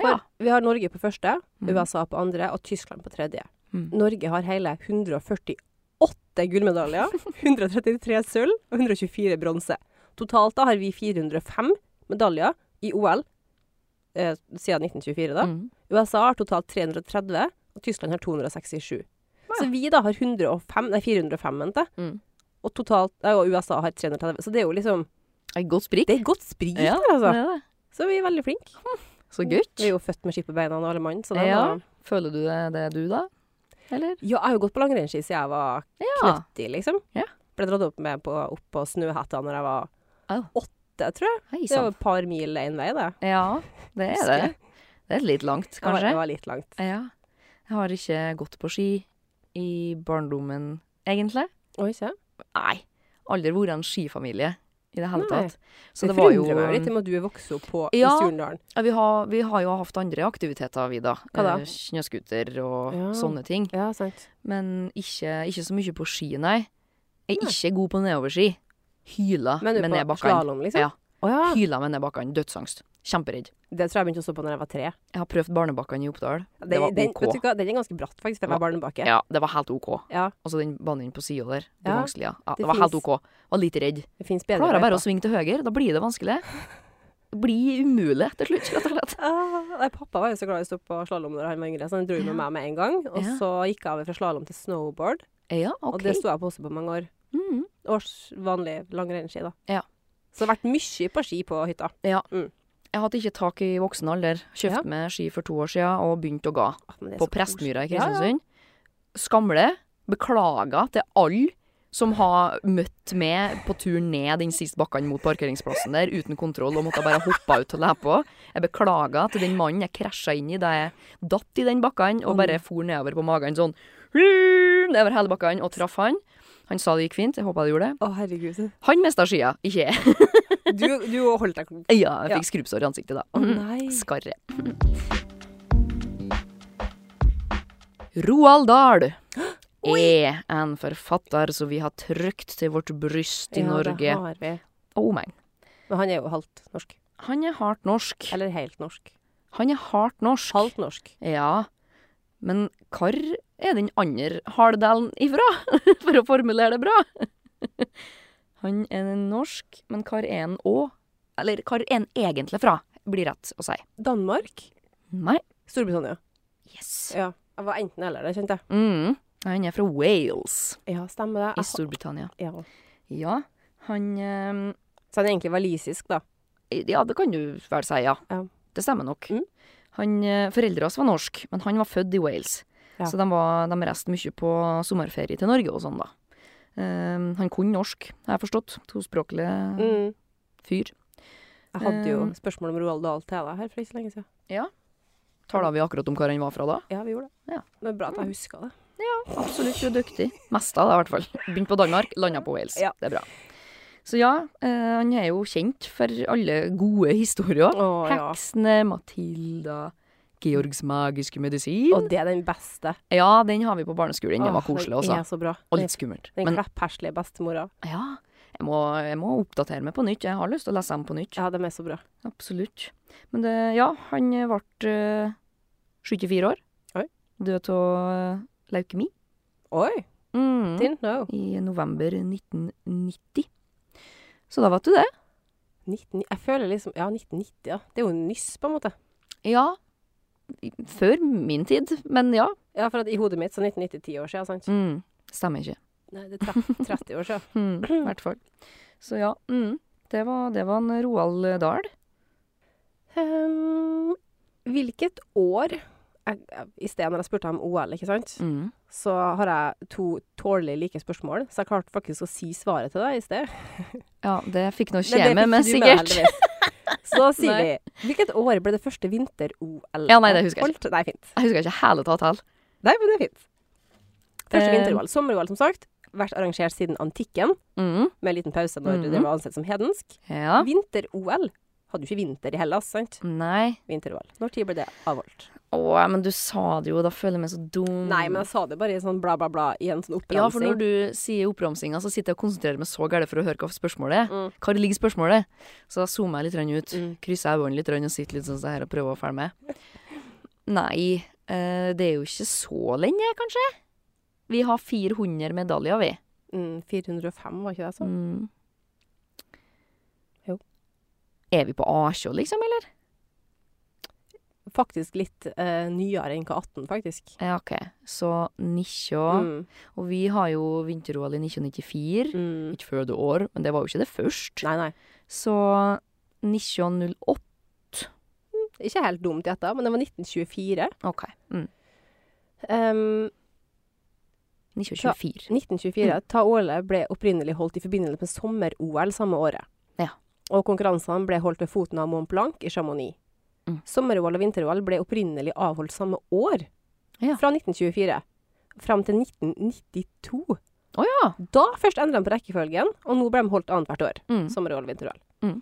Speaker 2: For
Speaker 1: Ja.
Speaker 2: vi har Norge på første,
Speaker 1: Mm.
Speaker 2: USA på andre og Tyskland på tredje.
Speaker 1: Mm.
Speaker 2: Norge har hele 148
Speaker 1: [LAUGHS]
Speaker 2: gullmedaljer, 133 sølv og 124 bronse. Totalt da har vi 405 medaljer i OL eh, siden 1924. da.
Speaker 1: Mm.
Speaker 2: USA har totalt 330, og Tyskland har 267. Så vi da har 105, nei 405, mente jeg.
Speaker 1: Mm.
Speaker 2: Og, totalt, nei, og USA har 330. Så det er jo liksom
Speaker 1: Et godt sprik.
Speaker 2: Det er godt sprit
Speaker 1: Ja,
Speaker 2: der, altså.
Speaker 1: det er det.
Speaker 2: Så vi er veldig flinke.
Speaker 1: Så
Speaker 2: Vi er
Speaker 1: gutt.
Speaker 2: Mm. jo født med ski på beina, alle mann. Så det
Speaker 1: Ja.
Speaker 2: var
Speaker 1: Føler du det, det du, da? Eller?
Speaker 2: Ja, jeg har jo gått på langrennsski siden jeg var
Speaker 1: Ja.
Speaker 2: knøtti, liksom.
Speaker 1: Ja.
Speaker 2: Ble dratt opp med på, opp på snøhetta når jeg var
Speaker 1: Au.
Speaker 2: åtte, tror jeg.
Speaker 1: Hei
Speaker 2: Det var
Speaker 1: sann.
Speaker 2: et par mil én vei, det.
Speaker 1: Ja, det er
Speaker 2: Husker
Speaker 1: det.
Speaker 2: jeg.
Speaker 1: Det er litt langt,
Speaker 2: Det var, det
Speaker 1: kanskje.
Speaker 2: var litt langt.
Speaker 1: Ja. Jeg har ikke gått på ski i barndommen, egentlig.
Speaker 2: Oi, se.
Speaker 1: Nei. Aldri vært en skifamilie i det hele
Speaker 2: Nei.
Speaker 1: tatt. Så
Speaker 2: Det,
Speaker 1: det var jo
Speaker 2: forundrer meg jo litt om at du er vokst opp på i
Speaker 1: Ja.
Speaker 2: Surndalen.
Speaker 1: Ja, vi, har, vi har jo hatt andre aktiviteter, vi, da.
Speaker 2: Hva da?
Speaker 1: Eh, Snøscooter og
Speaker 2: Ja.
Speaker 1: sånne ting.
Speaker 2: Ja, sant.
Speaker 1: Men ikke, ikke så mye på ski, nei. Jeg er ikke god på nedoverski. Hyla
Speaker 2: Men
Speaker 1: med
Speaker 2: du er
Speaker 1: ned
Speaker 2: på
Speaker 1: bakkene.
Speaker 2: slalåm, liksom?
Speaker 1: Ja.
Speaker 2: Å ja.
Speaker 1: Hyla med ned bakkene. Dødsangst. Kjemperedd.
Speaker 2: Det tror jeg begynte å stå på når jeg var tre.
Speaker 1: Jeg har prøvd barnebakkene i Oppdal.
Speaker 2: Den,
Speaker 1: Det var
Speaker 2: den,
Speaker 1: OK.
Speaker 2: vet du hva, den er ganske bratt, faktisk, for jeg
Speaker 1: Ja.
Speaker 2: var barnebake.
Speaker 1: Ja, det var helt OK.
Speaker 2: Ja.
Speaker 1: Altså den banen på sida der. Det
Speaker 2: Ja,
Speaker 1: vanskelige. Ja,
Speaker 2: det
Speaker 1: det var helt
Speaker 2: finnes-
Speaker 1: OK. Var litt redd.
Speaker 2: Det fins bedre
Speaker 1: Klarer jeg bare å
Speaker 2: løyper.
Speaker 1: svinge til høyre, da blir det
Speaker 2: [LAUGHS]
Speaker 1: vanskelig. Det blir umulig til slutt, rett og slett.
Speaker 2: Ah, nei, pappa var jo så glad i å stå på slalåm når han var yngre, så han dro jo med
Speaker 1: Ja.
Speaker 2: meg med en gang. Og
Speaker 1: Ja.
Speaker 2: så gikk jeg over fra slalåm til snowboard,
Speaker 1: Ja,
Speaker 2: og
Speaker 1: OK.
Speaker 2: det sto jeg på også på mange år.
Speaker 1: Mm.
Speaker 2: års vanlig langrennsski, da.
Speaker 1: Ja.
Speaker 2: Så det har vært mye på ski på hytta.
Speaker 1: Jeg hadde ikke tak i voksen alder. Kjøpte
Speaker 2: Ja.
Speaker 1: meg ski for to år siden og begynte å ga.
Speaker 2: Å, men det er
Speaker 1: På
Speaker 2: så koselig.
Speaker 1: Prestmyra i
Speaker 2: Ja, ja.
Speaker 1: Kristiansund. Skamle. Beklager til alle som har møtt meg på tur ned den siste bakken mot parkeringsplassen der uten kontroll og måtte bare hoppe ut og le på. Jeg beklager til den mannen jeg krasja inn i da jeg datt i den bakken og bare for nedover på magen sånn [LAUGHS] nedover hele bakken og traff han. Han sa det gikk fint, jeg håpa det gjorde det.
Speaker 2: Å, herregud.
Speaker 1: Han mista skia, ikke jeg. [LAUGHS]
Speaker 2: Du, du holdt deg [LAUGHS] Å
Speaker 1: Ja, jeg
Speaker 2: Ja.
Speaker 1: fikk skrubbsår i ansiktet da.
Speaker 2: nei.
Speaker 1: Skarre. Roald
Speaker 2: [GASPS]
Speaker 1: Dahl er en forfatter som vi har trykt til vårt bryst i Norge.
Speaker 2: Ja, det har vi.
Speaker 1: Oh man.
Speaker 2: Men han er jo halvt norsk.
Speaker 1: Han er hardt norsk.
Speaker 2: Eller helt norsk.
Speaker 1: Han er hardt norsk.
Speaker 2: Halvt norsk.
Speaker 1: Ja. Men hvor er den andre halvdelen ifra, [LAUGHS] for å formulere det bra? [LAUGHS] Han er norsk, men hvor er han òg? Eller hvor er han egentlig fra, blir rett å si.
Speaker 2: Danmark?
Speaker 1: Nei.
Speaker 2: Storbritannia.
Speaker 1: Yes.
Speaker 2: Ja. Jeg var enten eller, det kjente jeg.
Speaker 1: Mm. Han er fra Wales
Speaker 2: Ja, stemmer det.
Speaker 1: i
Speaker 2: Jeg,
Speaker 1: Storbritannia.
Speaker 2: ja.
Speaker 1: Ja, han ehm,
Speaker 2: Så han er egentlig walisisk, da.
Speaker 1: Ja, det kan du vel si, ja.
Speaker 2: Ja.
Speaker 1: Det stemmer nok.
Speaker 2: Mm.
Speaker 1: Han, eh, foreldre hans var norsk, men han var født i Wales.
Speaker 2: Ja.
Speaker 1: Så de, var, de reiste mye på sommerferie til Norge og sånn, da. Ehm, han kunne norsk, har jeg forstått. Tospråklig
Speaker 2: Mm.
Speaker 1: fyr.
Speaker 2: Jeg hadde jo
Speaker 1: Um.
Speaker 2: spørsmål om Roald Dahl til deg her for ikke så lenge siden.
Speaker 1: Tala vi akkurat om hvor han var fra da?
Speaker 2: Ja, vi gjorde det. Mm.
Speaker 1: Ja.
Speaker 2: Det er bra at jeg huska det.
Speaker 1: Absolutt, du er dyktig. Mest av det, i hvert fall. Begynt på Danmark, landa på Wales.
Speaker 2: Ja.
Speaker 1: Det er bra. Så ja, eh, han er jo kjent for alle gode historier.
Speaker 2: Å ja.
Speaker 1: Heksene, Matilda, Georgs magiske
Speaker 2: Og
Speaker 1: medisin.
Speaker 2: det er den beste.
Speaker 1: Ja, den har vi på barneskolen. Den var
Speaker 2: Åh,
Speaker 1: koselig
Speaker 2: Den altså.
Speaker 1: også.
Speaker 2: er så bra.
Speaker 1: Og litt skummelt.
Speaker 2: Den
Speaker 1: Men
Speaker 2: kleppherslige bestemora.
Speaker 1: ja, jeg må, jeg må oppdatere meg på nytt. Jeg har lyst til å lese dem på nytt.
Speaker 2: Ja, de er så bra.
Speaker 1: Absolutt. Men det, ja, han ble eh, 74 år.
Speaker 2: Oi.
Speaker 1: Død av eh, leukemi.
Speaker 2: Oi!
Speaker 1: Mm.
Speaker 2: Didn't know.
Speaker 1: I november 1990. Så da vet du det.
Speaker 2: 19, jeg føler liksom Ja, 1990, ja. Det er jo nyss, på en måte.
Speaker 1: Ja. Før min tid, men ja.
Speaker 2: Ja, for at i hodet mitt så er 1990 ti år siden, sant?
Speaker 1: Mm. Stemmer ikke.
Speaker 2: Nei, det
Speaker 1: [LAUGHS]
Speaker 2: er tre- 30 år siden.
Speaker 1: Mm, [CLEARS THROAT] I hvert fall. Så ja, mm, det, var, det var en Roald Dahl.
Speaker 2: Ehm, hvilket år jeg, jeg- I sted når jeg spurte om OL, ikke sant,
Speaker 1: Mm.
Speaker 2: så har jeg to tålelig like spørsmål, så jeg klarte faktisk å si svaret til deg i sted.
Speaker 1: Ja, det fikk nå
Speaker 2: Men det fikk
Speaker 1: kjeme, men
Speaker 2: ikke du med,
Speaker 1: sikkert.
Speaker 2: heldigvis. Så da sier
Speaker 1: [LAUGHS] Nei.
Speaker 2: vi Hvilket år ble det første vinter-OL?
Speaker 1: Ja, nei, det husker jeg
Speaker 2: ikke. Nei, fint.
Speaker 1: Jeg husker ikke hele tatt heller.
Speaker 2: Nei, men det er fint. Første
Speaker 1: Eh.
Speaker 2: vinter-OL. Sommer-OL, som sagt. Vært arrangert siden antikken,
Speaker 1: Mm.
Speaker 2: med en liten pause når
Speaker 1: Mhm.
Speaker 2: det var ansett som hedensk.
Speaker 1: Ja.
Speaker 2: Vinter-OL Hadde jo ikke vinter i Hellas, sant?
Speaker 1: Nei.
Speaker 2: Vinter-OL. Når tid ble det avholdt?
Speaker 1: Å, men du sa det jo, da føler jeg meg så dum.
Speaker 2: Nei, men jeg sa det bare i sånn bla, bla, bla, i en sånn oppramsing.
Speaker 1: Mm. Ja, for når du sier oppramsinga, så sitter jeg og konsentrerer meg så gærent for å høre hva spørsmålet er.
Speaker 2: Mm.
Speaker 1: Hvor ligger spørsmålet? Så da zoomer jeg litt grann ut.
Speaker 2: Mm.
Speaker 1: Krysser øynene litt grann og sitter litt sånn som her og prøver å følge med. Nei, eh, det er jo ikke så lenge, kanskje? Vi har 400 medaljer, vi.
Speaker 2: Mm, 405, var ikke det sånn?
Speaker 1: Mm.
Speaker 2: Jo.
Speaker 1: Er vi på A20, liksom, eller?
Speaker 2: Faktisk litt eh, nyere enn hva 18, faktisk.
Speaker 1: Ja, OK. Så 19
Speaker 2: Mm.
Speaker 1: Og vi har jo vinter-OL i 1994.
Speaker 2: Mm.
Speaker 1: Ikke før det år, men det var jo ikke det først.
Speaker 2: Nei, nei.
Speaker 1: Så 1908
Speaker 2: Ikke helt dumt gjetta, men det var 1924.
Speaker 1: OK. Mm.
Speaker 2: Ehm,
Speaker 1: 1924.
Speaker 2: 1924,
Speaker 1: Mm.
Speaker 2: Taole ble opprinnelig holdt i forbindelse med sommer-OL samme året.
Speaker 1: Ja.
Speaker 2: Og konkurransene ble holdt ved foten av Mont Blanc i Chamonix.
Speaker 1: Mm.
Speaker 2: Sommer-OL og vinter-OL ble opprinnelig avholdt samme år,
Speaker 1: Ja.
Speaker 2: fra 1924 fram til 1992.
Speaker 1: Å ja!
Speaker 2: Da først endra de på rekkefølgen, og nå ble de holdt annethvert år.
Speaker 1: Mm.
Speaker 2: Sommer-OL og vinter-OL.
Speaker 1: Mm.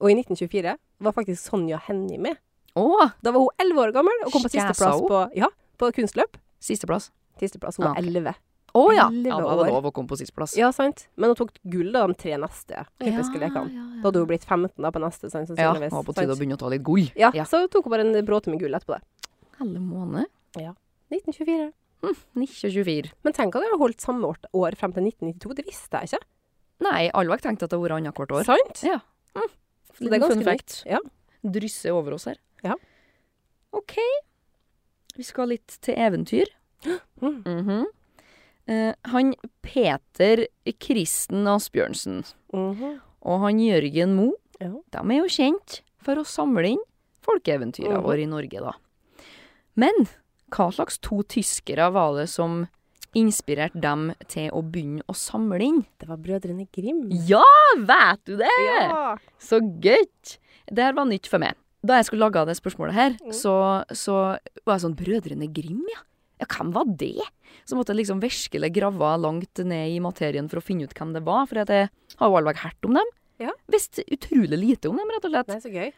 Speaker 2: Og i 1924 var faktisk Sonja Hennie med.
Speaker 1: Å!
Speaker 2: Da var hun 11 år gammel og kom på
Speaker 1: Skjæsa
Speaker 2: sisteplass
Speaker 1: hun?
Speaker 2: på, ja, på kunstløp.
Speaker 1: Sisteplass.
Speaker 2: Sisteplass, hun var
Speaker 1: Ah, ok.
Speaker 2: 11.
Speaker 1: Å ja!
Speaker 2: Elleve
Speaker 1: Ja, da var
Speaker 2: år.
Speaker 1: det lov å komme på sisteplass.
Speaker 2: Ja, sant. Men hun tok gull da, de tre neste olympiske lekene.
Speaker 1: ja,
Speaker 2: Da hadde hun blitt 15 da, på neste, sant,
Speaker 1: Ja,
Speaker 2: sannsynligvis.
Speaker 1: det var på tide å
Speaker 2: sant?
Speaker 1: begynne å ta litt gull.
Speaker 2: Ja,
Speaker 1: Ja.
Speaker 2: så tok hun bare en bråte med gull etterpå det.
Speaker 1: Helle måned.
Speaker 2: 1924.
Speaker 1: 1924.
Speaker 2: Men tenk at det har holdt samme år, år frem til 1992, det visste jeg ikke.
Speaker 1: Nei, alle har ikke tenkt at det har vært annethvert år.
Speaker 2: Sant?
Speaker 1: Ja,
Speaker 2: Så det er ganske nytt. Ja.
Speaker 1: Drysse over oss her.
Speaker 2: Ja.
Speaker 1: OK. Vi skal litt til eventyr.
Speaker 2: [GASPS] Mm.
Speaker 1: Mhm. Eh, han Peter Kristen Asbjørnsen
Speaker 2: Mhm.
Speaker 1: og han Jørgen Moe,
Speaker 2: Ja.
Speaker 1: de er jo kjent for å samle inn folkeeventyrene
Speaker 2: Mhm.
Speaker 1: våre i Norge, da. Men hva slags to tyskere var det som inspirerte dem til å begynne å samle inn?
Speaker 2: Det var brødrene Grimm.
Speaker 1: Ja, vet du det?
Speaker 2: Mm. Ja.
Speaker 1: Så gøy! Det her var nytt for meg. Da jeg skulle lage det spørsmålet her,
Speaker 2: Mm.
Speaker 1: så, så var jeg sånn Brødrene Grim, ja? Ja, hvem var det? Så måtte jeg liksom virkelig grave langt ned i materien for å finne ut hvem det var, for at jeg har jo allveg hørt om dem.
Speaker 2: Ja.
Speaker 1: Visste utrolig lite om dem, rett og slett.
Speaker 2: Nei, så gøy.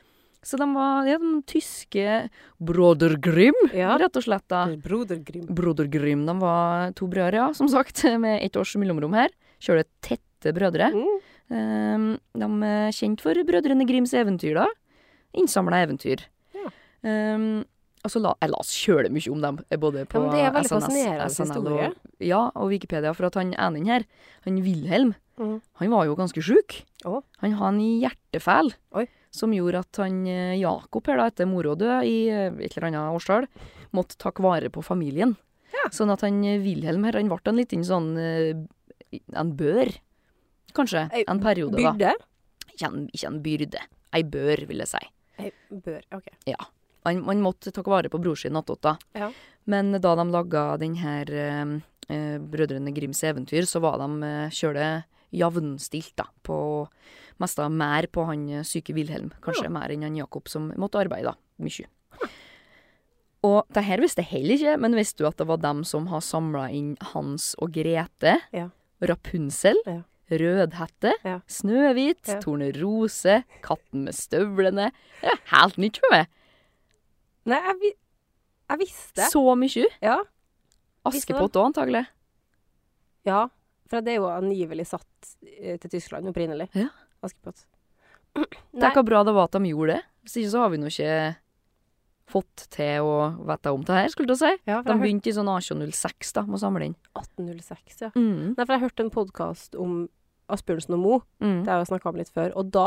Speaker 1: Så de var ja, de tyske Broder Grim,
Speaker 2: Ja.
Speaker 1: rett og slett. da.
Speaker 2: Broder Grimm.
Speaker 1: Broder Grim, de var to brødre, ja, som sagt, [LAUGHS] med ett års mellomrom her. Sjøl tette brødre.
Speaker 2: Mm.
Speaker 1: Ehm, De er kjent for Brødrene Grims eventyr, da. Innsamla eventyr.
Speaker 2: Ja.
Speaker 1: Ehm, og så la, jeg las kjølig mye om dem, eh, både på
Speaker 2: Ja, men det er veldig fascinerende
Speaker 1: SNS, SNL og,
Speaker 2: historie.
Speaker 1: ja, og Wikipedia. For at han enen her, han Wilhelm,
Speaker 2: Mhm.
Speaker 1: han var jo ganske sjuk.
Speaker 2: Å.
Speaker 1: Han hadde en hjertefeil
Speaker 2: Oi.
Speaker 1: som gjorde at han eh, Jakob her, da, etter mora død i eh, et eller annet årstall, måtte takke vare på familien.
Speaker 2: Ja.
Speaker 1: Sånn at han eh, Wilhelm her, han ble en liten sånn eh, En bør, kanskje.
Speaker 2: Ei,
Speaker 1: En periode, da
Speaker 2: Byrde?
Speaker 1: ikke en, ikke en byrde. Ei bør, vil jeg si.
Speaker 2: Nei, Bør, ok.
Speaker 1: Man, man måtte ta vare på bror sin attåt, da.
Speaker 2: Ja.
Speaker 1: Men da de laga den her eh, eh, Brødrene Grims eventyr, så var de eh, kjøle jevnstilt, da. På mest av mer på han eh, syke Wilhelm. Kanskje mer enn han Jakob, som måtte arbeide da, mye. Og det her visste jeg heller ikke, men visste du at det var dem som har samla inn Hans og Grete?
Speaker 2: Ja.
Speaker 1: Rapunsel?
Speaker 2: Ja.
Speaker 1: Rødhette?
Speaker 2: Ja.
Speaker 1: Snøhvit?
Speaker 2: Ja.
Speaker 1: Tornerose? Katten med støvlene? Det er helt nytt for meg.
Speaker 2: Nei, jeg, vi jeg visste.
Speaker 1: Så mye.
Speaker 2: Ja.
Speaker 1: Askepott òg, antagelig.
Speaker 2: Ja, for det er jo angivelig satt eh, til Tyskland opprinnelig.
Speaker 1: Ja.
Speaker 2: [CLEARS THROAT] Askepott. Nei.
Speaker 1: Tenk hvor bra det var at de gjorde det. Hvis ikke så har vi nå ikke fått til å vite om det her, skulle jeg til å si.
Speaker 2: Ja,
Speaker 1: De begynte i sånn A206 da, med å samle inn.
Speaker 2: 1806, ja.
Speaker 1: Mm.
Speaker 2: Nei, for jeg hørte en podkast om Asbjørnsen og Moe,
Speaker 1: Mm.
Speaker 2: det har jeg snakka om litt før, og da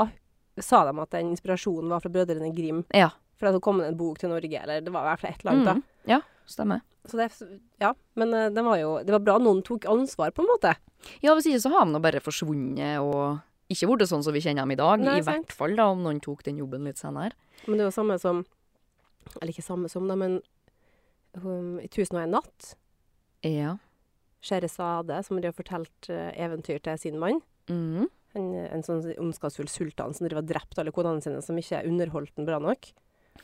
Speaker 2: sa de at den inspirasjonen var fra Brødrene Grim.
Speaker 1: Ja.
Speaker 2: For det hadde kommet en bok til Norge, eller det var i hvert fall et eller annet.
Speaker 1: Mm. Ja, stemmer.
Speaker 2: da. Så det, ja, men eh, det var jo Det var bra noen tok ansvar, på en måte.
Speaker 1: Ja, hvis ikke så har de nå bare forsvunnet og ikke blitt sånn som vi kjenner dem i dag.
Speaker 2: Nei,
Speaker 1: I
Speaker 2: sant.
Speaker 1: hvert fall da, om noen tok den jobben litt senere.
Speaker 2: Men det er jo samme som Eller ikke samme som, da, men um, i 1001 natt,
Speaker 1: Ja.
Speaker 2: Sherezade, som drev og fortalte eh, eventyr til sin mann.
Speaker 1: Mm.
Speaker 2: En, en sånn ondskapsfull sultan som driver og drepte alle konene sine, som ikke underholdt den bra nok.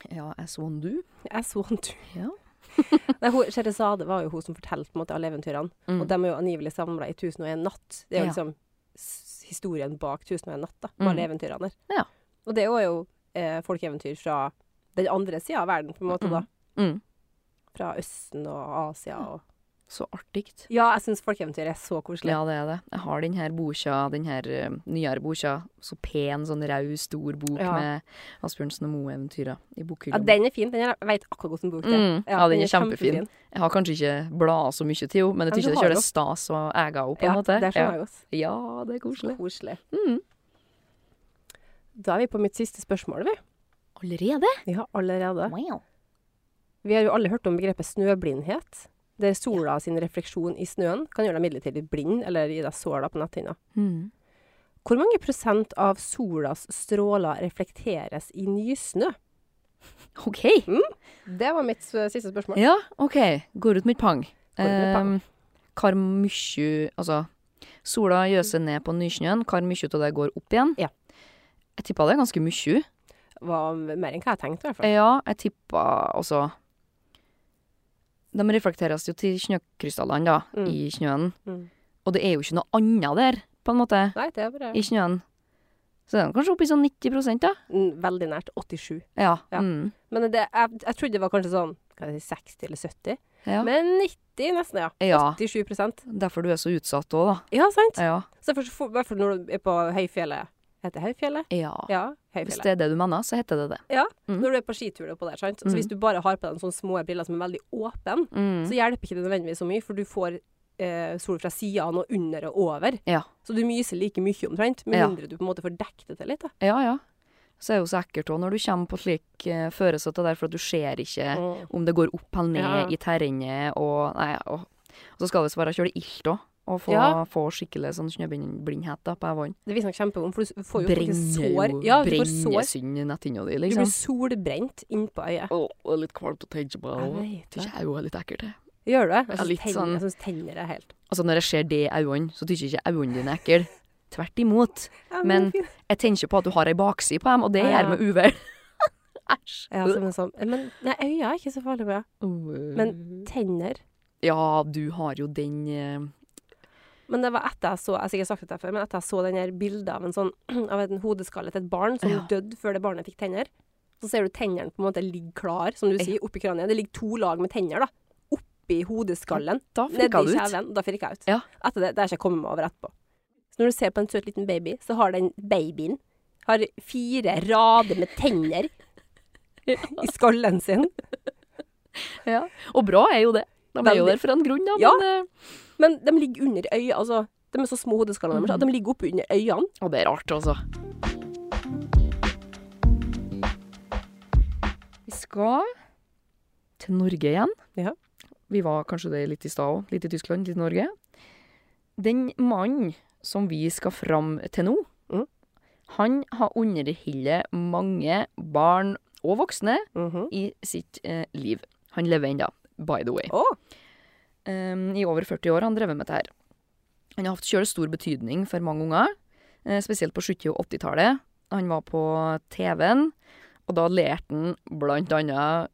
Speaker 1: Ja, jeg så en du.
Speaker 2: Jeg så han tur.
Speaker 1: Ja.
Speaker 2: [LAUGHS] Nei, hun- Sherazade var jo hun som fortalte på en måte alle eventyrene.
Speaker 1: Mm.
Speaker 2: Og de er jo angivelig samla i 1001 natt. Det er jo
Speaker 1: Ja.
Speaker 2: liksom s- historien bak 1001 natt, da.
Speaker 1: Mm.
Speaker 2: Med alle eventyrene der.
Speaker 1: Ja.
Speaker 2: Og det er jo eh, folkeeventyr fra den andre sida av verden, på en måte, da.
Speaker 1: Mm.
Speaker 2: Fra Østen og Asia og
Speaker 1: Så artig.
Speaker 2: Ja, jeg syns folkeeventyr er så koselig.
Speaker 1: Ja, det er det. Jeg har den her boka, den her eh, nyere boka. Så pen, sånn raus, stor bok
Speaker 2: Ja.
Speaker 1: med Asbjørnsen og Moe-eventyra i
Speaker 2: Ja,
Speaker 1: bokhylla. mi.
Speaker 2: den er fin. Den er, jeg vet akkurat hvilken bok det er.
Speaker 1: Mm. Ja, den er kjempefin. Jeg har kanskje ikke bladet så mye til henne, men jeg
Speaker 2: Men du
Speaker 1: syns det
Speaker 2: har
Speaker 1: kjører
Speaker 2: jo-
Speaker 1: stas å eie henne, på en
Speaker 2: Ja,
Speaker 1: måte.
Speaker 2: det er sånn jeg også.
Speaker 1: ja. ja, det er koselig.
Speaker 2: Koselig.
Speaker 1: Mm.
Speaker 2: Da er vi på mitt siste spørsmål, vi.
Speaker 1: Allerede?
Speaker 2: Vi har allerede.
Speaker 1: Wow.
Speaker 2: Vi har jo alle hørt om begrepet snøblindhet, der sola sin refleksjon i snøen kan gjøre deg midlertidig blind, eller gi deg såla på netthinna.
Speaker 1: Mm.
Speaker 2: Hvor mange prosent av solas stråler reflekteres i nysnø?
Speaker 1: OK.
Speaker 2: Det var mitt eh, siste spørsmål.
Speaker 1: Ja, OK. Går ut med et pang.
Speaker 2: Går ut med et pang.
Speaker 1: Eh, Hvor mye Altså, sola gjøser ned på nysnøen. Hvor mye av det går opp igjen?
Speaker 2: Ja.
Speaker 1: Jeg tippa det er ganske mye.
Speaker 2: Det var mer enn hva jeg tenkte, i hvert fall.
Speaker 1: Ja, jeg tippa altså De reflekteres jo til snøkrystallene, da,
Speaker 2: Mm.
Speaker 1: i snøen.
Speaker 2: Mm.
Speaker 1: Og det er jo ikke noe annet der, på en måte,
Speaker 2: Nei, det er bare
Speaker 1: i snøen. Så det er kanskje oppi sånn 90 da.
Speaker 2: mm, veldig nært 87.
Speaker 1: Ja.
Speaker 2: Ja.
Speaker 1: Mm.
Speaker 2: Men det, jeg, jeg trodde det var kanskje sånn hva skal jeg si, 60 eller 70,
Speaker 1: ja.
Speaker 2: men 90 nesten, ja.
Speaker 1: ja.
Speaker 2: 87 prosent.
Speaker 1: Derfor du er så utsatt òg, da.
Speaker 2: Ja, sant?
Speaker 1: Ja.
Speaker 2: Så for, for, i hvert fall når du er på høyfjellet. Heter det høyfjellet?
Speaker 1: ja.
Speaker 2: Ja,
Speaker 1: Hvis
Speaker 2: høyfjellet.
Speaker 1: det er det du mener, så heter det det. Mm.
Speaker 2: Når du er på skitur oppå der, sant? så
Speaker 1: Mm.
Speaker 2: hvis du bare har på deg sånne små briller som er veldig åpne,
Speaker 1: Mm.
Speaker 2: så hjelper ikke det nødvendigvis så mye, for du får eh, sol fra sidene og under og over.
Speaker 1: Ja.
Speaker 2: Så du myser like mye omtrent, med
Speaker 1: Ja.
Speaker 2: mindre du på en måte får dekket det til litt. Da.
Speaker 1: Ja, ja. Så er det jo så ekkelt òg når du kommer på slik eh, føresette der, for at du ser ikke
Speaker 2: Mm.
Speaker 1: om det går opp eller ned
Speaker 2: Ja.
Speaker 1: i terrenget, og nei, og, og så skal det visst være kjølig ilt òg. Og få,
Speaker 2: Ja.
Speaker 1: få skikkelig sånn snøblindhet da, på ei vann.
Speaker 2: Det er visstnok kjempevondt, for du får jo faktisk
Speaker 1: Brenner jo
Speaker 2: sår. Ja, du får sår.
Speaker 1: brennesund i netthinna di,
Speaker 2: Du blir
Speaker 1: liksom.
Speaker 2: solbrent innpå øyet.
Speaker 1: Åh, det er litt kvalmt å tenke på.
Speaker 2: Jeg
Speaker 1: og
Speaker 2: vet
Speaker 1: Syns
Speaker 2: det.
Speaker 1: jeg òg er litt ekkelt, det.
Speaker 2: Gjør du det?
Speaker 1: Ja, litt
Speaker 2: Jeg syns
Speaker 1: sånn-
Speaker 2: tenner, jeg synes tenner er helt
Speaker 1: Altså, når jeg ser det i øynene, så syns jeg ikke øynene dine er ekle. Tvert imot.
Speaker 2: Ja,
Speaker 1: Men-
Speaker 2: fin.
Speaker 1: Jeg tenker på at du har ei bakside på dem, og det
Speaker 2: Ja, ja.
Speaker 1: gjør meg uvel. [LAUGHS] Æsj.
Speaker 2: ja, som en sånn. Men nei, øyet er ikke så farlig med. Men- Tenner.
Speaker 1: Ja, du har jo den eh,
Speaker 2: Men det var etter jeg så jeg har sikkert sagt dette før, men etter jeg så den her bildet av en, sånn, [CLEARS THROAT] av en hodeskalle til et barn som
Speaker 1: Ja.
Speaker 2: døde før det barnet fikk tenner, så ser du tennene på en måte ligge klar, som du
Speaker 1: Ja.
Speaker 2: sier, oppi kraniet. Det ligger to lag med tenner da, oppi hodeskallen,
Speaker 1: Da
Speaker 2: nedi
Speaker 1: frika du ut.
Speaker 2: kjeven. Da firka jeg ut.
Speaker 1: Ja.
Speaker 2: Etter det, det har jeg ikke kommet meg over etterpå. Så når du ser på en søt liten baby, så har den babyen har fire rader med
Speaker 1: [LAUGHS]
Speaker 2: tenner i skallen sin.
Speaker 1: Ja. Og bra er jo det. De er jo
Speaker 2: Veldig.
Speaker 1: der for en grunn, da.
Speaker 2: Ja.
Speaker 1: Men, eh,
Speaker 2: Men de ligger under øya, altså. De er så små hodeskallene deres at de ligger oppunder øynene.
Speaker 1: eh, og det er rart, altså. Vi skal til Norge igjen.
Speaker 2: Ja.
Speaker 1: Vi var kanskje det litt i stad òg. Litt i Tyskland, litt i Norge. Den mannen som vi skal fram til nå,
Speaker 2: Mhm.
Speaker 1: han har underholdt mange barn og voksne i sitt eh, liv. Han lever ennå, by the way.
Speaker 2: Å!
Speaker 1: Um, I over 40 år har han drevet med dette her. Han har hatt kjølig stor betydning for mange unger, eh, spesielt på 70- og 80-tallet. Han var på TV-en, og da lærte han blant annet,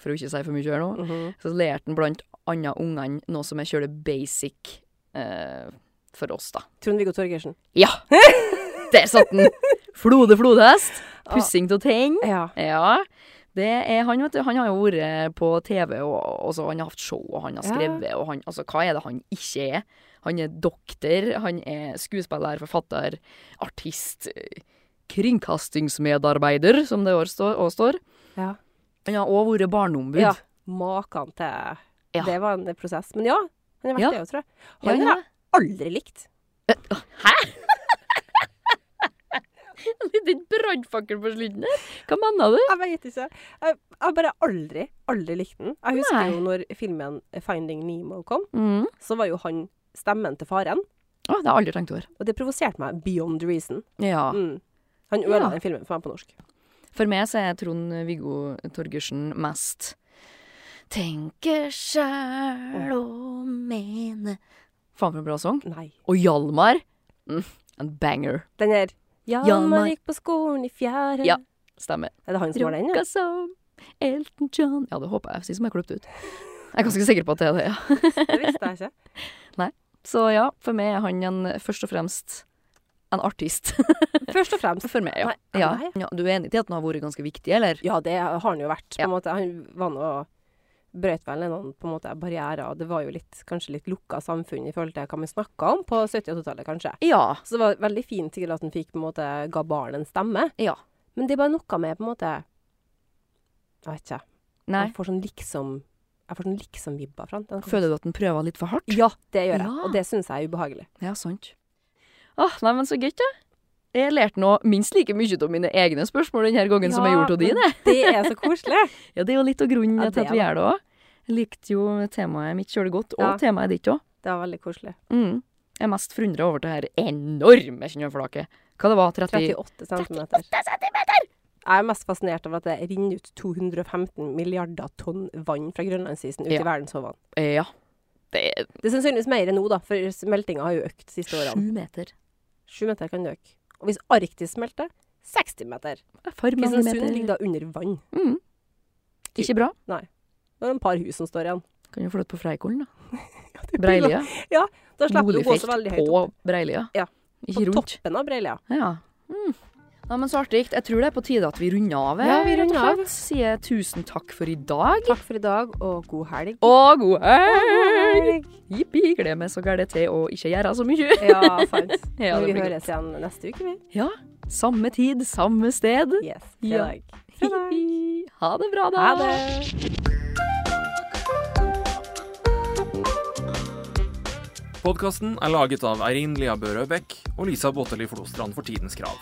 Speaker 1: for å ikke si for mye her nå,
Speaker 2: Mhm.
Speaker 1: så lærte han blant annet ungene noe som er kjølig basic eh, for oss, da.
Speaker 2: Trond-Viggo Torgersen.
Speaker 1: Ja! Der satt han! Flode, flodhest. Pussing til ting.
Speaker 2: Ja.
Speaker 1: Ja. Det er han, vet du. Han har jo vært på TV, og, og så han har hatt show, og han har
Speaker 2: Ja.
Speaker 1: skrevet, og han Altså, hva er det han ikke er? Han er doktor, han er skuespiller, forfatter, artist, eh, kringkastingsmedarbeider, som det også står. også står.
Speaker 2: ja.
Speaker 1: Han har òg vært barneombud.
Speaker 2: ja. Maken til
Speaker 1: Ja.
Speaker 2: Det var en prosess. Men ja, han har vært
Speaker 1: Ja.
Speaker 2: det òg, tror jeg.
Speaker 1: Ja,
Speaker 2: Han
Speaker 1: ja. [LAUGHS]
Speaker 2: har jeg aldri likt.
Speaker 1: En liten brannfakkel på slutten der. Hva mener du?
Speaker 2: Jeg vet ikke. Jeg har bare aldri, aldri likt den. Jeg husker
Speaker 1: Nei.
Speaker 2: jo når filmen 'Finding Nemo' kom,
Speaker 1: Mm.
Speaker 2: så var jo han stemmen til faren.
Speaker 1: Å, det har jeg aldri tenkt over.
Speaker 2: Og det provoserte meg beyond reason.
Speaker 1: Ja.
Speaker 2: Mm. Han ødela
Speaker 1: Ja.
Speaker 2: den filmen for meg på norsk.
Speaker 1: For meg så er Trond-Viggo Torgersen mest Tenker sjæl og mene Faen for en bra sang.
Speaker 2: Nei.
Speaker 1: Og Hjalmar mm, En banger.
Speaker 2: Den her
Speaker 1: Hjalmar.
Speaker 2: Hjalmar gikk på skolen i fjære
Speaker 1: Ja. Stemmer.
Speaker 2: Er det han som har den? Ja?
Speaker 1: Runka som Elton John Ja, det håper jeg. Sist som jeg klippet ut. Jeg er ganske sikker på at det er det, ja. [LAUGHS]
Speaker 2: Det visste jeg ikke.
Speaker 1: Så ja, for meg er han en først og fremst en artist [LAUGHS]
Speaker 2: Først og fremst.
Speaker 1: for meg, ja.
Speaker 2: Nei,
Speaker 1: ja.
Speaker 2: nei.
Speaker 1: ja. Du er enig i at den har vært ganske viktig, eller?
Speaker 2: Ja, det har han jo vært. på
Speaker 1: Ja.
Speaker 2: en måte. Han var nå brøt vel noen på en måte, barrierer. Det var jo litt, kanskje litt lukka samfunn i forhold til hva vi snakka om på 70- og 80-tallet, kanskje.
Speaker 1: Ja.
Speaker 2: Så det var veldig fint sikkert at han fikk på en måte, ga barn en stemme.
Speaker 1: Ja.
Speaker 2: Men det er bare noe med på en måte Jeg vet ikke.
Speaker 1: Nei.
Speaker 2: Jeg får sånn liksom Jeg får sånn liksom-vibba fra han. Den kan-
Speaker 1: Føler du at den prøver litt for hardt?
Speaker 2: Ja, det gjør jeg.
Speaker 1: Ja.
Speaker 2: Og det syns jeg er ubehagelig.
Speaker 1: Ja, sant. Åh, nei, men så gøy, da. Jeg lærte nå minst like mye av mine egne spørsmål denne gangen som jeg
Speaker 2: Ja,
Speaker 1: gjorde av dine.
Speaker 2: men Det er så koselig.
Speaker 1: [LAUGHS] Ja, det er jo litt av grunnen
Speaker 2: Ja,
Speaker 1: til
Speaker 2: det
Speaker 1: at vi
Speaker 2: er
Speaker 1: gjør det òg. Jeg likte jo temaet mitt kjølig godt, og
Speaker 2: Ja.
Speaker 1: temaet ditt òg.
Speaker 2: Det var veldig koselig.
Speaker 1: Mm. Jeg er mest forundra over det her enorme snøflaket. Hva det var 30
Speaker 2: 38 cm. Jeg er mest fascinert over at det renner ut 215 milliarder tonn vann fra grønlandsisen ut
Speaker 1: Ja.
Speaker 2: i verdenshavene.
Speaker 1: Eh, Ja. Det er
Speaker 2: Det er sannsynligvis mer nå, da, for smeltinga har jo økt de siste
Speaker 1: sju
Speaker 2: årene.
Speaker 1: meter.
Speaker 2: Sju meter kan det øke. Og hvis Arktis smelter, 60 meter.
Speaker 1: For mange
Speaker 2: Kristiansund
Speaker 1: meter.
Speaker 2: ligger da under vann.
Speaker 1: Mm. Ikke bra.
Speaker 2: Det er en par hus som står igjen.
Speaker 1: Kan jo flytte på Freikollen, da. [LAUGHS]
Speaker 2: blir
Speaker 1: Breilia.
Speaker 2: Da slipper du å gå så veldig
Speaker 1: Boligfelt
Speaker 2: høyt
Speaker 1: på
Speaker 2: opp.
Speaker 1: Breilia.
Speaker 2: Ja.
Speaker 1: Ikke
Speaker 2: På
Speaker 1: rundt.
Speaker 2: toppen av Breilia.
Speaker 1: Ja. Mm. Nei, men så artig. Jeg tror det er på tide at vi runder av.
Speaker 2: Ja, vi
Speaker 1: rett og
Speaker 2: runder av.
Speaker 1: slett. Sier tusen takk for i dag.
Speaker 2: Takk for i dag, og god helg.
Speaker 1: Og god helg!
Speaker 2: helg!
Speaker 1: Jippi. Gleder meg så gærent til å ikke gjøre så mye.
Speaker 2: [LAUGHS] Ja, sant.
Speaker 1: Ja,
Speaker 2: Men
Speaker 1: det
Speaker 2: vi
Speaker 1: blir godt.
Speaker 2: høres igjen neste uke, vi.
Speaker 1: Ja. Samme tid, samme sted.
Speaker 2: Yes.
Speaker 1: Ja.
Speaker 2: Fredag. Fredag.
Speaker 1: Ha det bra, da.
Speaker 2: Ha det.
Speaker 3: Podkasten er laget av Eirin Lia Børø Bech og Lisa Botteli Flostrand for Tidens Krav.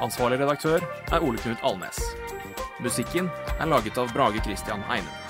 Speaker 3: Ansvarlig redaktør er Ole Knut Alnes. Musikken er laget av Brage Christian Einum.